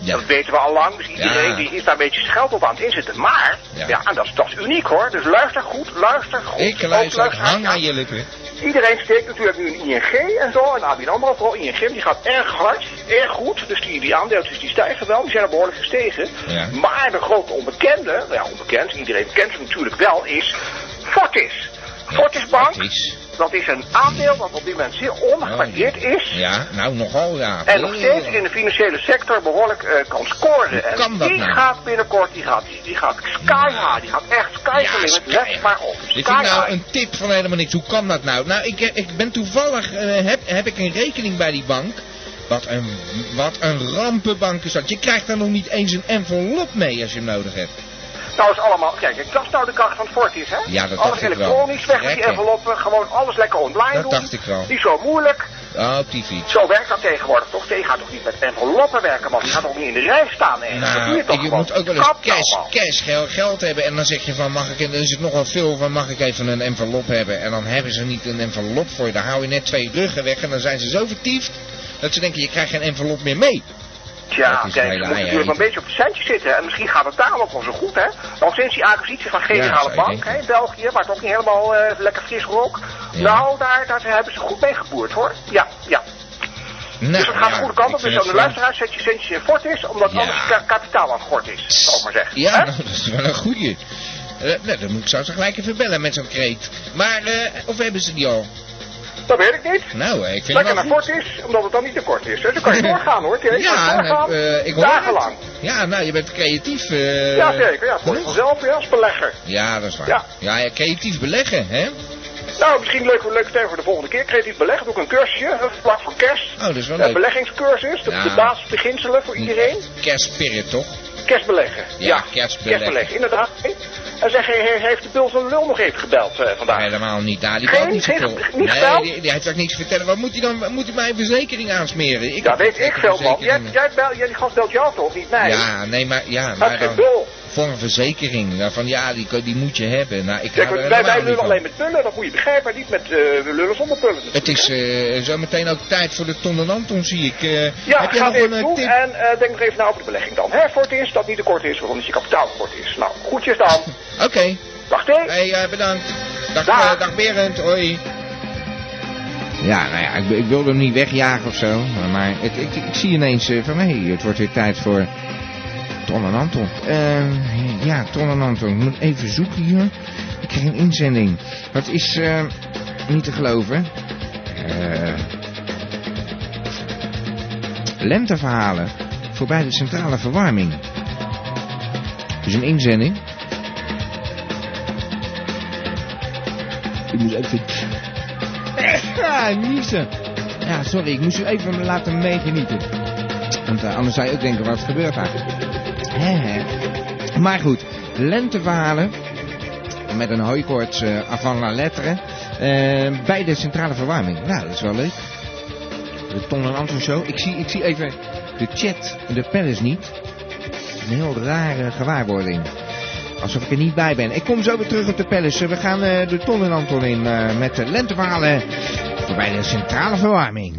Ja. Dat weten we al lang, dus iedereen Ja. die is daar een beetje zijn geld op aan het inzetten. Maar, Ja. ja, en dat is, dat is uniek hoor. Dus luister goed, luister goed. Ik Ook luister, ik luisteraars, hang ja. aan je lippen. Iedereen steekt natuurlijk nu een ING en zo. En nou, ABN AMRO, vooral ING, die gaat erg hard, erg goed. Dus die, die aandeeltjes die stijgen wel, die zijn al behoorlijk gestegen. Ja. Maar de grote onbekende, nou ja, onbekend, iedereen kent ze natuurlijk wel, is Fortis. Fortis Bank, Precies. dat is een aandeel dat op dit moment zeer ongewaardeerd is. Oh, Ja, nou nogal, ja. En nog steeds in de financiële sector behoorlijk eh, kan Hoe scoren. En kan dat die nou? gaat binnenkort, die gaat, die gaat sky high, die gaat echt sky Ja, high. sky Let maar op. Dit sky is nou high. een tip van helemaal niks. Hoe kan dat nou? Nou, ik, ik ben toevallig, eh, heb, heb ik een rekening bij die bank. Wat een, wat een rampenbank is dat. Je krijgt daar nog niet eens een envelop mee als je hem nodig hebt. Nou is allemaal, kijk, kijk, dat is nou de kracht van Fortis, hè? Ja, dat alles dacht ik wel. elektronisch, weg met die Lekker. enveloppen, gewoon alles lekker online Dat doen. dacht ik wel. Niet zo moeilijk. Oh, op die fiets. Zo werkt dat tegenwoordig toch? Je gaat toch niet met enveloppen werken, man? Je gaat toch niet in de rij staan, hè? dat doe Nou, je toch je gewoon? moet ook wel eens Kap nou, cash, man. cash gel- geld hebben. En dan zeg je van, mag ik, en dan is het nogal veel van, mag ik even een envelop hebben? En dan hebben ze niet een envelop voor je. Dan hou je net twee ruggen weg en dan zijn ze zo vertiefd dat ze denken, je krijgt geen envelop meer mee. Tja, Dat is kijk, ze een hele moeten natuurlijk eieren. een beetje op het centje zitten. En misschien gaat het daarom ook wel zo goed, hè? Want sinds die acquisitie van Generale zou je Bank, denken. hè, in België, waar het ook niet helemaal eh, lekker fris rook. Ja. Nou, daar, daar hebben ze goed mee geboerd, hoor. Ja, ja. Nou, dus het gaat de ja, goede kant ik op. Dus aan de vind het flauw. luisteraar zet je centje fort is, omdat Ja. anders ka- kapitaal aan gort is, zal ik maar zeggen. Ja, Hè? nou, [LAUGHS] dat is wel een goeie. Eh, nou, dan moet ik zou ze gelijk even bellen met zo'n kreet. Maar, eh, of hebben ze die al? Dat weet ik niet. Nou, eh, ik vind Lekker het naar wel goed. kort is, omdat het dan niet te kort is. hè. Dus dan [LAUGHS] kan je doorgaan hoor, Thierry. Ja, Kan je doorgaan, nou, eh, ik hoor dagenlang. het. Ja, nou, je bent creatief. eh, ja, zeker. Ja, voor genoeg. jezelf ja, als belegger. Ja, dat is waar. Ja, Ja. ja, creatief beleggen, hè? Nou, misschien leuk, leuk term voor de volgende keer. Creatief beleggen, doe ik een cursusje. Dat is vlak voor kerst. Oh, dat is wel Een leuk. beleggingscursus, de, Ja. de basisbeginselen voor iedereen. Kerstspirit, toch? Kerstbeleggen. Ja, kerstbeleggen. inderdaad. En zeg, he- he- heeft de Bul van Lul nog even gebeld eh, vandaag? Helemaal niet, daar. Die Geen- kan niet geen- vertellen. niet nee, gebeld? die, die heeft ook niks te vertellen. Wat moet hij dan? Moet hij mij een verzekering aansmeren? ja, heb weet ik geen veel, man. Jij, verzekering. jij bel, jij, die gast belt jou toch, niet mij? Ja, nee, maar, ja, Dat maar is geen dan, bul. voor een verzekering. Nou, van ja, die, kan- die moet je hebben. Nou, ik Kijk, hou wij, er wij helemaal niet lullen van. alleen met pullen, dat moet je begrijpen. Niet met eh, we lullen zonder pullen. Het is eh, zo meteen ook tijd voor de Ton en Anton, zie ik. Eh, Ja, heb jij ga nog even een doen eh, tip? en eh, denk nog even na over de belegging dan. Hè, voor het eerst dat niet te kort is, waarom het je kapitaal kort is. Nou, goedjes dan. [LAUGHS] Oké. Dag T. Hey, eh, bedankt. Dag, Dag. eh, dag Berend, hoi. Nou, Ja, nou ja, ik, ik wilde hem niet wegjagen of zo. Maar het, ik, ik zie ineens eh, van, hé, het wordt weer tijd voor Ton en Anton. Eh, ja, Ton en Anton. Ik moet even zoeken hier. Ik kreeg een inzending. Dat is eh, niet te geloven. Eh, lenteverhalen voorbij de centrale verwarming. Dus een inzending. Ik moest even... Ja, niezen. eh, Ja, sorry, ik moest u even laten meegenieten. Want eh, anders zou je ook denken, wat gebeurt daar? Hè, hè. Maar goed, lenteverhalen met een hooikoorts eh avant la lettre eh, bij de centrale verwarming. Nou, dat is wel leuk. De Ton en Anton Show. Ik zie, ik zie even de chat en de palace niet. Een heel rare gewaarwording. Alsof ik er niet bij ben. Ik kom zo weer terug op de Palace. We gaan eh, de Ton en Anton in eh, met de lenteverhalen voorbij de centrale verwarming.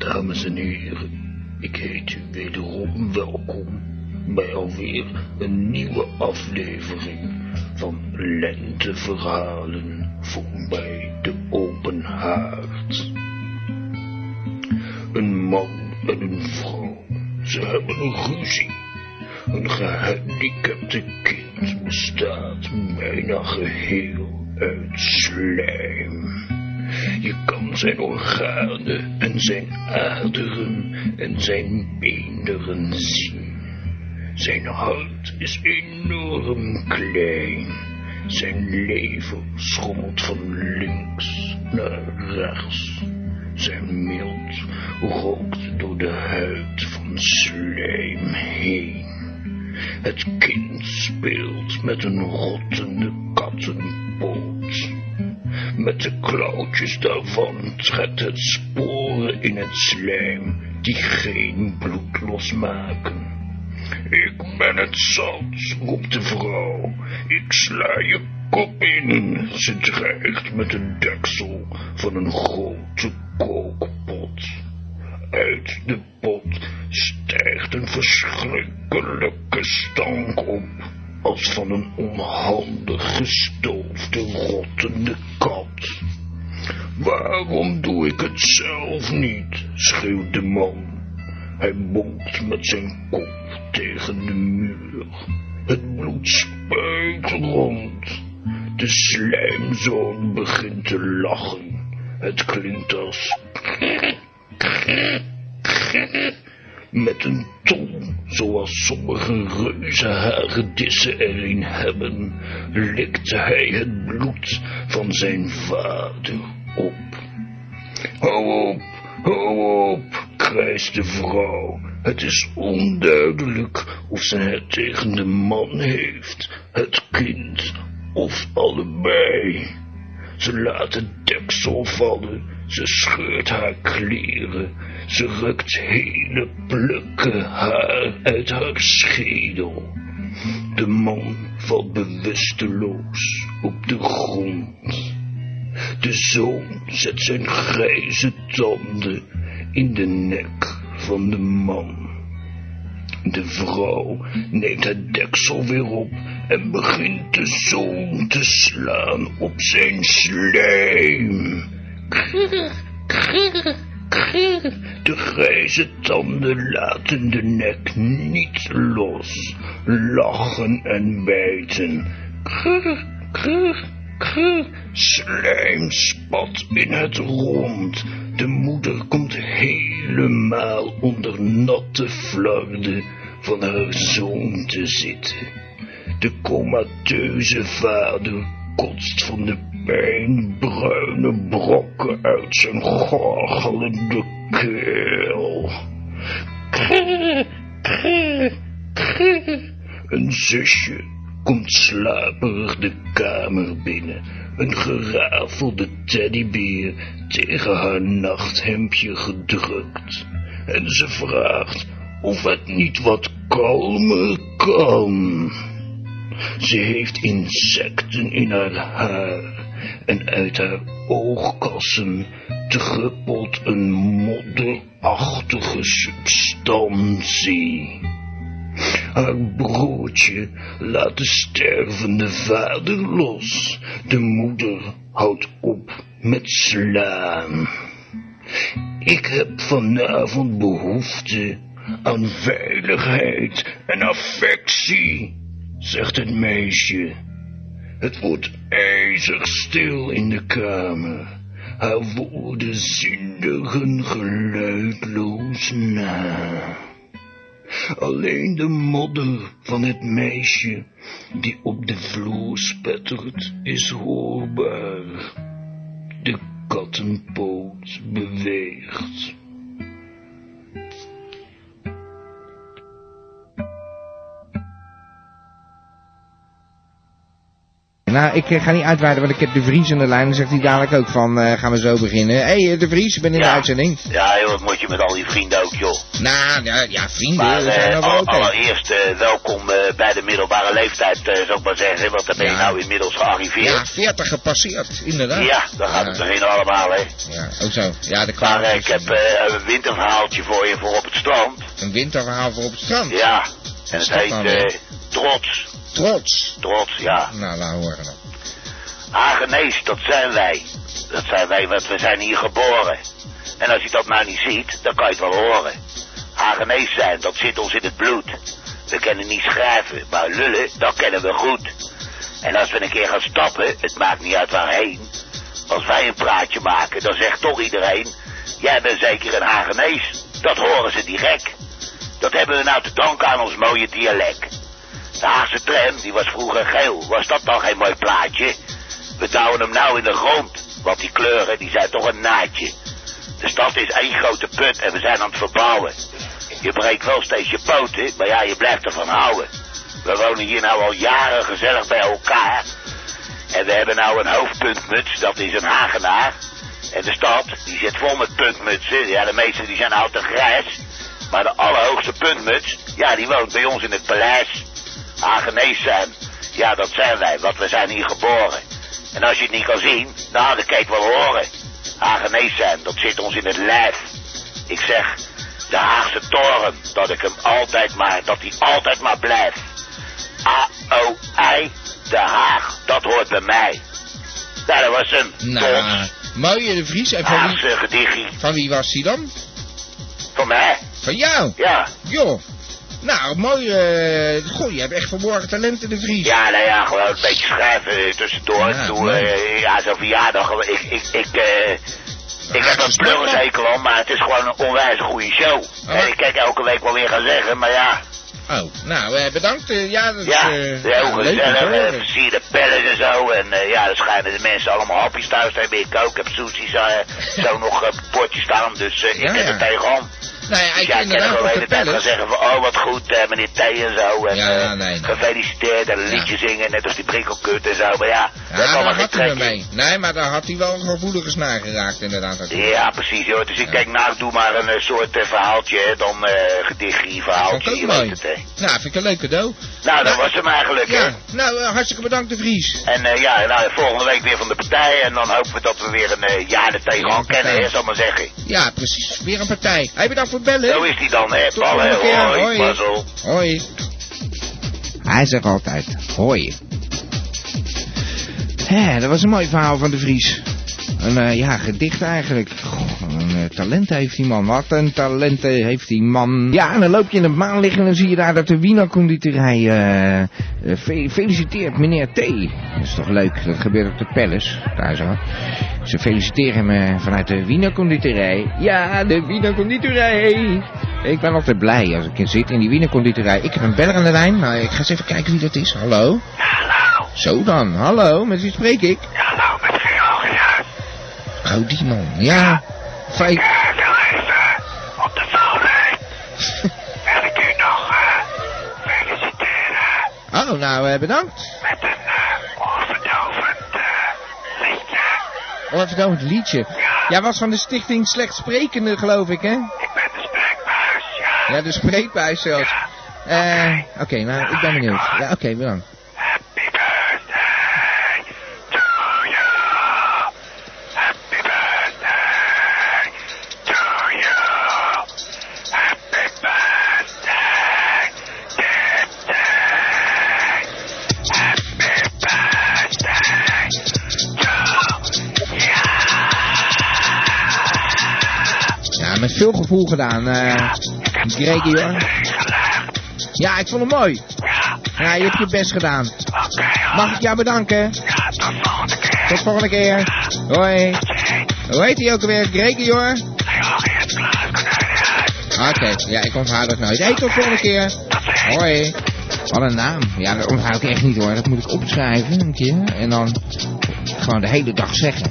Dames en heren, ik heet u wederom welkom bij alweer een nieuwe aflevering van Lenteverhalen voorbij de open haard. Een man en een vrouw, ze hebben een ruzie. Een gehandicapte kind bestaat bijna geheel uit slijm. Je kan zijn organen en zijn aderen en zijn beenderen zien. Zijn hart is enorm klein. Zijn lever schommelt van links naar rechts. Zijn mild rookt door de huid van slijm heen. Het kind speelt met een rottende kattenpoot. Met de klauwtjes daarvan trekt het sporen in het slijm die geen bloed losmaken. Ik ben het zat, roept de vrouw. Ik sla je kop in. Ze dreigt met een deksel van een grote kookpot. Uit de pot stijgt een verschrikkelijke stank op, als van een onhandig gestoofde rottende kat. Waarom doe ik het zelf niet? schreeuwt de man. Hij bonkt met zijn kop tegen de muur. Het bloed spuugt rond. De slijmzoon begint te lachen. Het klinkt als... Met een tong, zoals sommige reuzenhagedissen er een hebben, likt hij het bloed van zijn vader op. Hou op, hou op, krijst de vrouw. Het is onduidelijk of zij het tegen de man heeft, het kind of allebei. Ze laat het deksel vallen, ze scheurt haar kleren, ze rukt hele plukken haar uit haar schedel. De man valt bewusteloos op de grond. De zoon zet zijn grijze tanden in de nek van de man. De vrouw neemt het deksel weer op en begint de zoon te slaan op zijn slijm. De grijze tanden laten de nek niet los, lachen en bijten. Krr, krr, krr. Slijm spat in het rond. De moeder komt helemaal onder natte flarden van haar zoon te zitten. De comateuze vader kotst van de pijn bruine brokken uit zijn gorgelende keel. Krr, krr, krr. Een zusje komt slaperig de kamer binnen. Een gerafelde teddybeer tegen haar nachthemdje gedrukt. En ze vraagt of het niet wat kalmer kan. Ze heeft insecten in haar haar en uit haar oogkassen druppelt een modderachtige substantie. Haar broertje laat de stervende vader los. De moeder houdt op met slaan. Ik heb vanavond behoefte aan veiligheid en affectie, zegt het meisje. Het wordt ijzig stil in de kamer. Haar woorden zindigen geluidloos na. Alleen de modder van het meisje die op de vloer spettert is hoorbaar. De kattenpoot beweegt. Nou, ik eh, ga niet uitweiden, want ik heb de Vries in de lijn. Dan zegt hij dadelijk ook van, eh, gaan we zo beginnen. Hé, hey, eh, de Vries, ik ben in de Ja. uitzending. Ja, joh, wat moet je met al die vrienden ook, joh. Nou, ja, ja vrienden, Maar we eh, zijn er wel al- oké. allereerst eh, welkom eh, bij de middelbare leeftijd, eh, zou ik maar zeggen. Want daar ben je Ja. nou inmiddels Ja, gearriveerd. 40 gepasseerd, Ja, inderdaad. dan gaat het beginnen allemaal, hè. Ja, ook zo. Ja, de Maar eh, klaar. ik heb eh, een winterverhaaltje voor je voor op het strand. Een winterverhaal voor op het strand. Ja, en is het dat heet dan eh, weer? Trots. Trots. Trots, ja. Nou, laat horen dan. Hagenees, dat zijn wij. Dat zijn wij, want we zijn hier geboren. En als je dat nou niet ziet, dan kan je het wel horen. Hagenees zijn, dat zit ons in het bloed. We kunnen niet schrijven, maar lullen, dat kennen we goed. En als we een keer gaan stappen, het maakt niet uit waarheen. Als wij een praatje maken, dan zegt toch iedereen... Jij bent zeker een Hagenees. Dat horen ze direct. Dat hebben we nou te danken aan ons mooie dialect. De Haagse tram, die was vroeger geel. Was dat dan geen mooi plaatje? We douwen hem nou in de grond. Want die kleuren, die zijn toch een naadje. De stad is één grote put en we zijn aan het verbouwen. Je breekt wel steeds je poten, maar ja, je blijft ervan houden. We wonen hier nou al jaren gezellig bij elkaar. En we hebben nou een hoofdpuntmuts, dat is een Hagenaar. En de stad, die zit vol met puntmutsen. Ja, de meeste die zijn nou te grijs. Maar de allerhoogste puntmuts, ja, die woont bij ons in het paleis. Hagenees zijn, Ah, ja, dat zijn wij, want we zijn hier geboren. En als je het niet kan zien, nou, dan kan je het wel horen. Hagenees zijn, dat zit ons in het lijf. Ik zeg, de Haagse toren, dat ik hem altijd maar, dat hij altijd maar blijft. A-O-I, De Haag, dat hoort bij mij. Nou, dat was hem. Nou, eh, mooie de Vries. En van wie, Haagse gedichtie. van wie was die dan? Van mij. Van jou? Ja. Joh. Nou, mooi. eh goh, je hebt echt verborgen talent in de vries. Ja, nou ja, gewoon een beetje schrijven eh, tussendoor. Ja, Ja, Toen, leuk. eh, ja zo'n verjaardag. eh, Ik, ik, ik, eh, ik heb een pleurenzekel aan, maar het is gewoon een onwijs goede show. En ik kijk elke week wel weer gaan zeggen, maar ja. Oh, nou, eh, bedankt. eh, ja, dat is Ja, eh, heel ja, leuk om gezellig. te eh, horen. versierde pellen en zo. En eh, ja, dan schijnen de mensen allemaal hapjes thuis te hebben. Ik ook. Ik heb sushi [LAUGHS] eh, zo nog eh, op potje staan. Dus eh, ik Ja, heb ja. er tegenaan. Nou ja, Dus ik ja, ik kan er inderdaad wel op de de hele tijd gaan palace. zeggen van, oh wat goed, eh, meneer T en zo. En, Ja, eh, ja, nee, nee. Gefeliciteerd en een liedje zingen, net als die prikkelkut en zo. Maar ja, Ja, nou, dat is allemaal daar geen had hij trek me in. mee. Nee, maar daar had hij wel een gevoelige snaar geraakt, inderdaad. Dat- Ja, precies hoor. Dus ik denk, nou doe maar een eh, soort eh, verhaaltje, hè. dan eh gedichtje, Vond ik verhaaltje, ook je weet mooi. het hè. Nou, vind ik een leuk cadeau. Nou, dat was hem eigenlijk hè. Ja, nou, eh, hartstikke bedankt de Vries. En eh, ja, nou, volgende week weer van de partij en dan hopen we dat we weer een eh, jaar er tegenaan kennen, hè, zal ik maar zeggen. Ja, precies. Weer een partij. Hij bedankt voor het bellen. Zo is die dan, hè. Tot de volgende Ballen, keer. hoi, Hoi. mazzel. Hoi. Hij zegt altijd, hoi. Hè, dat was een mooi verhaal van de Vries. Een eh, ja, gedicht eigenlijk. Goh, een eh, talent heeft die man. Wat een talent eh, heeft die man. Ja, en dan loop je in de maan liggen en dan zie je daar dat de Wiener conditorij eh, eh, fe- feliciteert meneer T. Dat is toch leuk, dat gebeurt op de Palace, daar zo. Ze feliciteren me vanuit de Wiener conditorij. Ja, de Wiener conditorij. Ik ben altijd blij als ik zit in die Wiener conditorij. Ik heb een beller aan de lijn, maar ik ga eens even kijken wie dat is. Hallo? Hallo. Zo dan, hallo, met wie spreek ik? Hallo, nou, met Georg, ja. Oh, die man, ja. Fijn. Ik wil even eh, op de [LAUGHS] volgende. Wil ik u nog eh, feliciteren Oh, nou, eh, bedankt. met een onverdovend liedje. Oh, even nou het liedje. Jij was van de stichting Slechtsprekende, geloof ik, hè? Ik ben de spreekbuis, ja. Ja, de spreekbuis zelfs. Eh, oké, nou, ik ben benieuwd. Ja, oké, bedankt. Ja, met veel gevoel gedaan, eh, Gregor. Ja, ik vond hem mooi. Ja, je hebt je best gedaan. Mag ik jou bedanken? Ja, tot volgende keer. Tot volgende keer. Hoi. Hoe heet hij ook alweer? Gregor? Oké, ja, ik onthoud dat nooit. Hey, tot volgende keer. Hoi. Wat een naam. Ja, dat onthoud ik echt niet hoor. Dat moet ik opschrijven een keer. En dan gewoon de hele dag zeggen.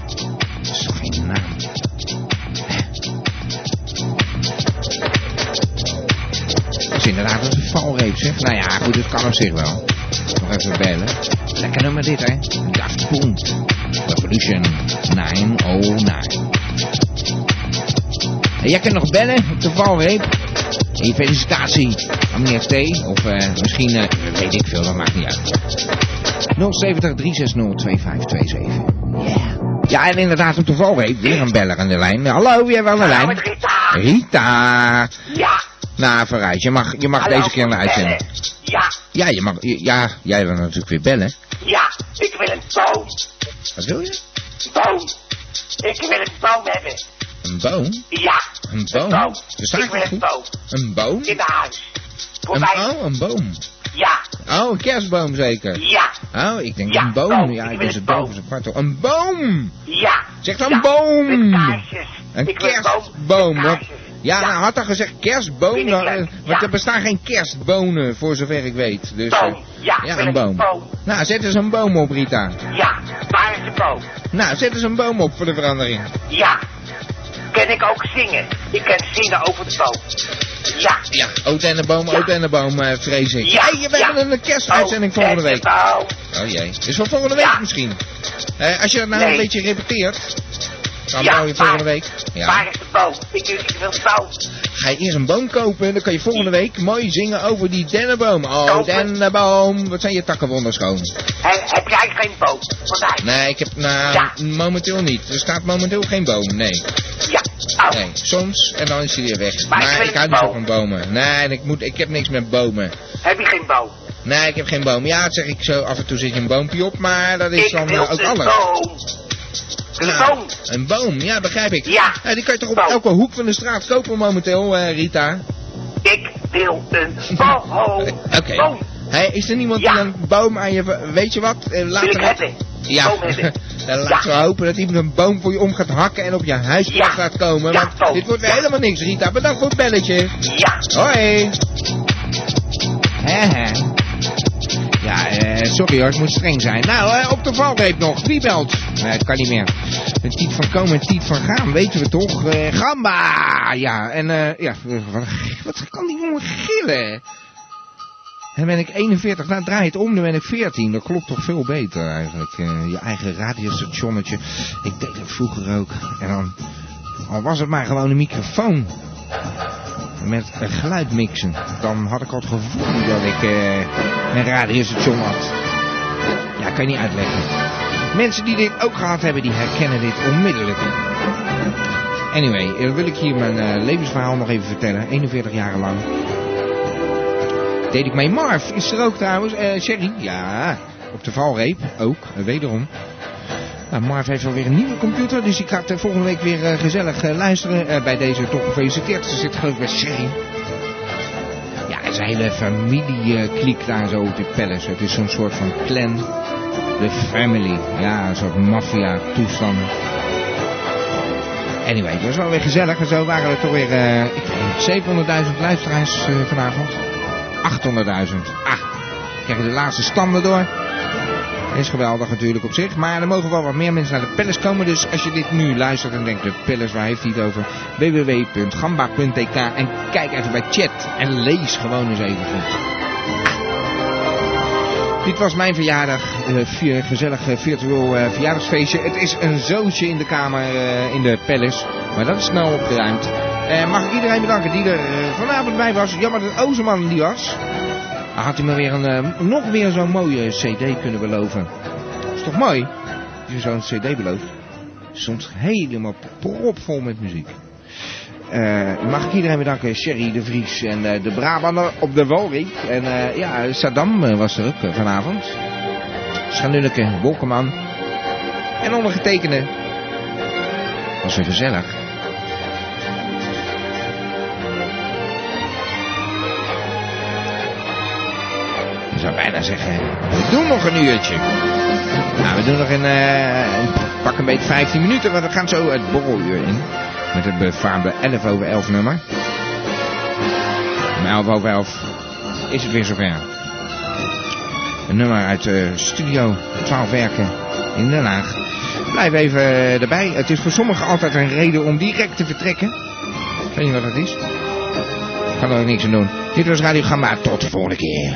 Dat is toch geen naam. Dat is inderdaad een valreep, zeg. Nou ja, goed, dat kan op zich wel. Nog even bellen. Lekker nummer dit, hè. Daft Punk. Revolution 909. En oh jij kunt nog bellen op de valreep. En je felicitatie aan meneer T. Of eh, misschien, eh, weet ik veel, dat maakt niet uit. 070 360 2527. Ja, en inderdaad, op de valreep weer een beller aan de lijn. Hallo, wie hebben we aan de lijn? Rita. Rita. Ja. Nou, vooruit. Je mag, je mag Hallo, deze keer naar bellen. uitzending. Ja, Ja, je mag, ja, jij wil natuurlijk weer bellen. ja, ik wil een boom. Wat wil je? Boom. Ik wil een boom hebben. Een boom? Ja, Een boom? Bestaat ik wil dat goed? een boom. Een boom? In mijn huis. Voor Een, mij. oh, een boom. Ja, Oh, een kerstboom zeker? Ja. Oh, ik denk Ja, een boom. boom. Ja, Ik ik wil is een het boven zijn kwart. Een boom! ja. Zeg dan ja, boom! Met kaarsjes. Een Ik wil een boom kerstboom. met want- kaarsjes. ja, hij had dan gezegd kerstboom. Vind ik dan, leuk, eh, ja. Want er bestaan geen kerstbonen, voor zover ik weet. Dus, eh, Boom. Ja, ik wil een boom. Nou, zet eens een boom op, Rita. Ja, waar is de boom? Nou, zet eens een boom op voor de verandering. Ja. Kan ik ook zingen? Ik kan zingen over de boom. Ja. Ja, Oud en de boom, Oud en de boom, eh, vrees ik. Ja, Hey, we ja. Oh, hebben een kerstuitzending Oud en volgende week. de boom. Oh jee. Dus voor volgende week misschien. Eh, als je dat nou Nee. een beetje repeteert, dan Ja, bouw je volgende waar- week. Ja. Waar is de boom? Ik, ik wil een boom. Ga je eerst een boom kopen, dan kan je volgende week mooi zingen over die dennenboom. Oh, dennenboom. Wat zijn je takken wonderschoon. He- heb jij geen boom? Voor mij. Nee, ik heb, nou, momenteel niet. Er staat momenteel geen boom, nee. Ja, Oh. Nee, soms en dan is hij weer weg. Maar Maar, ik wil ik een hou niet zo boom. van bomen. Nee, en ik, moet, ik heb niks met bomen. Heb je geen boom? Nee, ik heb geen boom. Ja, dat zeg ik zo. Af en toe zit je een boompje op, maar dat is Ik dan wil eh, ook een alles. boom. Een boom. Een boom, ja, begrijp ik. Ja, die kan je toch op elke hoek van de straat kopen momenteel, eh, Rita? wil een boho. [LAUGHS] Oké. Oh. Hé, is er niemand die een boom aan je... v- Weet je wat? Eh, Laten Wil ik we- hebben. Ja, Boom hebben. [LAUGHS] dan laten we hopen dat iemand een boom voor je om gaat hakken en op je huis Ja. gaat komen. Ja, want Toon. dit wordt weer Ja. helemaal niks, Rita. Bedankt voor het belletje. Ja. Hoi. Hè, hè. Ja, eh, sorry hoor, ik moet streng zijn. Nou, eh, op de valreep nog. Wie belt? Nee, het kan niet meer. Een Tiet van komen en Tiet van gaan, weten we toch? Eh, gamba! Ja, en eh, ja, wat, wat kan die jongen gillen? Dan ben ik 41, nou draai het om, dan ben ik 14. Dat klopt toch veel beter eigenlijk. Eh, je eigen radiostationnetje. Ik deed dat vroeger ook. En dan, al was het maar gewoon een microfoon. Met eh, geluid mixen. Dan had ik al het gevoel dat ik eh, een radiostation had. Ja, kan je niet uitleggen. Mensen die dit ook gehad hebben, die herkennen dit onmiddellijk. Anyway, eh, wil ik hier mijn eh, levensverhaal nog even vertellen. 41 jaar lang. Deed ik mee. Marv is er ook trouwens. Eh Sherry, ja. Op de valreep ook, eh, wederom. Nou, Marv heeft alweer een nieuwe computer, dus ik ga het, eh, volgende week weer eh, gezellig eh, luisteren. Eh, bij deze toch gefeliciteerd. Ze zit geloof ik bij Sherry. Ja, het is een hele familiekliek daar zo op de palace. Het is zo'n soort van clan. The family. Ja, een soort maffia-toestand. Anyway, het was wel weer gezellig en zo waren er toch weer eh, ik weet niet, 700.000 luisteraars eh, vanavond. 800.000. Ah, krijgen de laatste standen door. Is geweldig natuurlijk op zich. Maar er mogen wel wat meer mensen naar de Palace komen. Dus als je dit nu luistert en denkt, de Palace, waar heeft hij het over? www.gamba.tk En kijk even bij chat en lees gewoon eens even goed. Dit was mijn verjaardag, eh, vier, gezellig eh, virtueel eh, verjaardagsfeestje. Het is een zootje in de kamer eh, in de palace, maar dat is snel opgeruimd. Eh, mag ik iedereen bedanken die er eh, vanavond bij was. Jammer dat Ozeman die was. Dan had hij me weer een, eh, nog weer zo'n mooie cd kunnen beloven. Is toch mooi? Dat je zo'n cd belooft. Soms helemaal propvol met muziek. Eh, mag ik iedereen bedanken? Sherry de Vries en eh, de Brabander op de Walrik. En eh, ja, Saddam eh, was er ook eh, vanavond. Schanulleke, Wolkeman. En ondergetekende. Was weer gezellig. Ik zou bijna zeggen, we doen nog een uurtje. Nou, we doen nog een, eh, een pak een beetje 15 minuten, want we gaan zo het borreluur in. Met het befaamde 11 over 11 nummer. Om 11 over 11 is het weer zover. Een nummer uit eh, Studio 12 Werken in Den Haag. Blijf even eh, erbij. Het is voor sommigen altijd een reden om direct te vertrekken. Ik weet niet wat dat is. Kan er ook niks aan doen. Dit was Radio Gamma. Tot de volgende keer.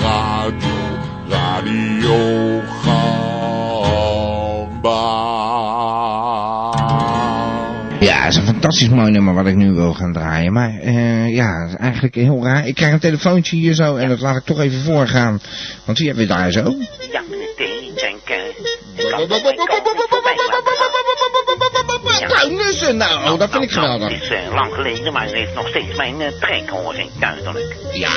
Radio. Radio Gamba. Ja, het is een fantastisch mooi nummer wat ik nu wil gaan draaien. Maar eh, ja, het is eigenlijk heel raar. Ik krijg een telefoontje hier zo en dat laat ik toch even voorgaan. Want wie hebben we daar zo? Ja, meteen denken. Bruinussen, nou, dat vind ik geweldig. Het is eh, lang geleden, maar u heeft nog steeds mijn eh, trekhoorn duidelijk. Ja,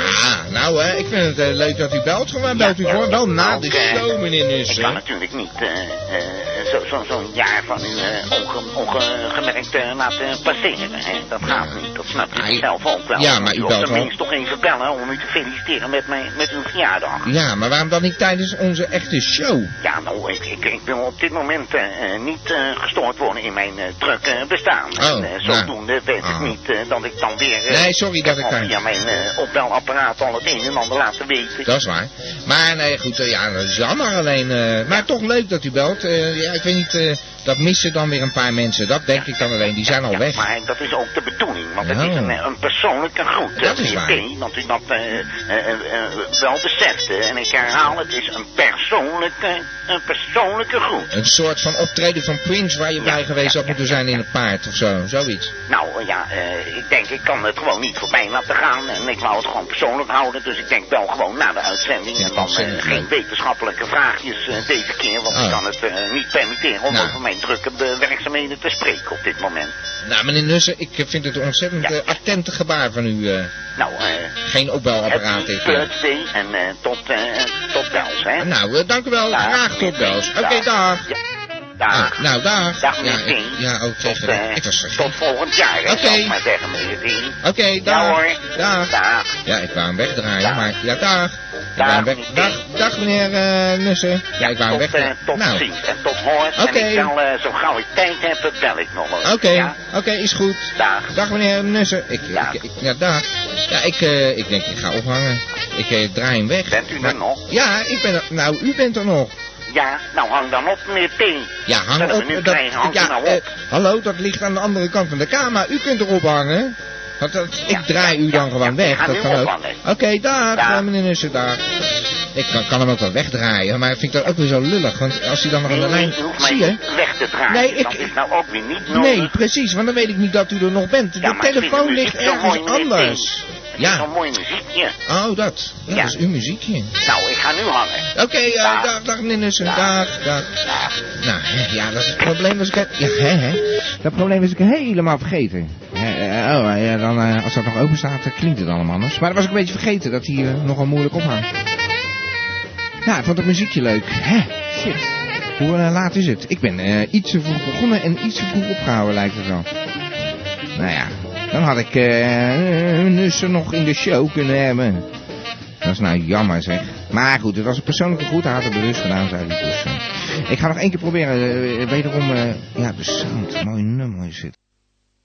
nou hè, ik vind het eh, leuk dat u belt. Gewoon belt u gewoon wel na de Oké. show, meneer Ik kan Nussen. natuurlijk niet eh, eh, zo- zo- zo'n jaar van u eh, onge- ongemerkt eh, laten passeren. Hè? Dat gaat niet, dat snap je zelf ook wel. ja, maar u belt Op wel. zijn minst toch even bellen om u te feliciteren met, mijn, met uw verjaardag. Ja, maar waarom dan niet tijdens onze echte show? Ja, nou, ik, ik, ik wil op dit moment eh, eh, niet eh, gestoord worden in mijn eh, druk eh, bestaan. en, eh, nou. zodoende weet ik niet eh, dat ik dan weer... eh, Nee, sorry dat ik al daar- via mijn eh, opbelapparaat al het een en ander laten weten. Dat is waar. Maar nee, goed, eh, ja, dat is jammer alleen. eh, maar toch leuk dat u belt. Eh, ja, ik weet niet, eh, dat missen dan weer een paar mensen. Dat denk ik dan alleen, die zijn al ja, weg. maar dat is ook de bedoeling, want het Oh. is een, eh, een persoonlijke groet. Dat eh, is waar. meneer P, want u dat eh, eh, eh, eh, wel beseft. eh, en ik herhaal, het is een persoonlijke, een persoonlijke groet. Een soort van optreden van Prince waar je bij geweest had moeten te zijn in een paard of zo, zoiets. Nou ja, eh, ik denk ik kan het gewoon niet voorbij laten gaan. En ik wou het gewoon persoonlijk houden. Dus ik denk wel gewoon na de uitzending. En dan eh, geen wetenschappelijke vraagjes eh, deze keer. Want ik Oh. kan het eh, niet permitteren om over mijn drukke werkzaamheden te spreken op dit moment. Nou, meneer Nussen, ik eh, vind het een ontzettend eh, attente gebaar van u. eh. Nou, eh, Geen opbelapparaat Happy dit keer. birthday en eh, tot, eh, tot bels, hè? Nou, eh, dank u wel. Dag, Graag tot meneer bels. P. Oké, dag. Ja, dag. Ah, nou, dag. Dag, ja, meneer ik, P. ja, ook tot, tegen eh, Ik was tot volgend jaar, hè, Oké. zal ik maar zeggen, meneer Dien. Oké, dag. Ja, hoor. Dag. Dag. Ja, ik wou hem wegdraaien, maar... Ja, dag. Ik wou hem weg... dag, dag, meneer eh, Nussen. Ja, ik wou hem Tot, wegdraaien. eh, tot nou, ziens en tot hoors. Oké. En ik zal, eh, zo gauw ik tijd heb, bel ik nog wel. Oké, oké, is goed. Dag. meneer Nussen. Ik, ik, ik- ja, dag. Ja, ik, eh, ik denk ik ga ophangen. Ik eh, draai hem weg. Bent u er nog? Ja, ik ben er. Nou, u bent er nog. Ja, nou hang dan op, meneer P. Ja, hang Zullen op. we nu dat- krijgen? Hang ja, nou eh, op. hallo, dat ligt aan de andere kant van de kamer. U kunt erop hangen. Want dat, ik draai u dan gewoon weg. ga dat nu kan ook. ophangen. Oké, dag, eh, meneer Nussen, dag. Ik kan, kan hem ook wel wegdraaien, maar ik vind dat ook weer zo lullig. Want als hij dan nog aan de lijn... u hoeft mij Zie je? niet weg te draaien. Nee, ik- Dat is nou ook weer niet nodig. Nee, precies, want dan weet ik niet dat u er nog bent. Ja, De maar ik vind telefoon de ligt muziek zo ergens mooi, meneer anders. Het is Ja. Zo'n mooi muziekje. Oh, dat. Ja, Ja. Dat is uw muziekje. Nou, ik ga nu hangen. Oké, eh, Dag. dag, dag meneer Nussen. Dag, dag. Nou, hè, ja, dat is het probleem was ik... het- Ja, hè, hè. Dat probleem was ik helemaal vergeten. Hè, eh, oh, eh, ja, dan, eh, als dat nog open staat, eh, klinkt het allemaal anders. Maar dat was ik een beetje vergeten, dat hij eh, nogal moeilijk ophangt. Ja, ik vond het muziekje leuk. Hè, shit. Hoe eh, laat is het? Ik ben eh, iets te vroeg begonnen en iets te vroeg opgehouden, lijkt het wel. Nou ja, dan had ik eh Nussen nog in de show kunnen hebben. Dat is nou jammer zeg. Maar goed, het was een persoonlijke groet. Hij had het bewust gedaan, zei hij dus. eh. Ik ga nog één keer proberen. eh, wederom, eh, ja, de sound. Mooi nummer is het.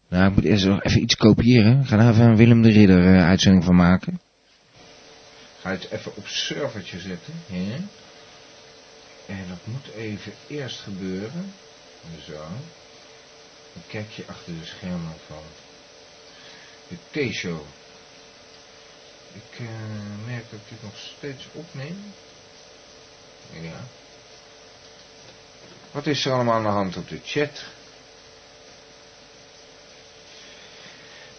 Nou, ik moet eerst nog even iets kopiëren. Ik ga daar even een Willem de Ridder eh, uitzending van maken. Ga het even op servertje zetten. Hè? En dat moet even eerst gebeuren. Zo. Dan kijk je achter de schermen van de T-show. Ik eh, merk dat ik dit nog steeds opneem. Ja. Wat is er allemaal aan de hand op de chat?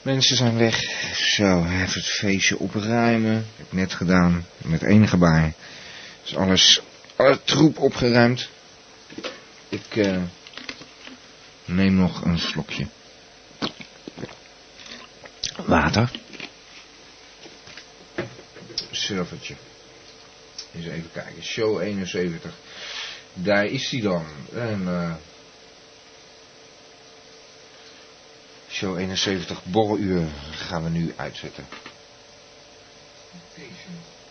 Mensen zijn weg. Zo, even het feestje opruimen. Heb ik net gedaan. Met één gebaar. Is alles, alle troep opgeruimd. Ik eh, neem nog een slokje water. servertje. Eens even kijken. Show 71. Daar is hij dan. En, eh, show 71 borreluur gaan we nu uitzetten. Deze.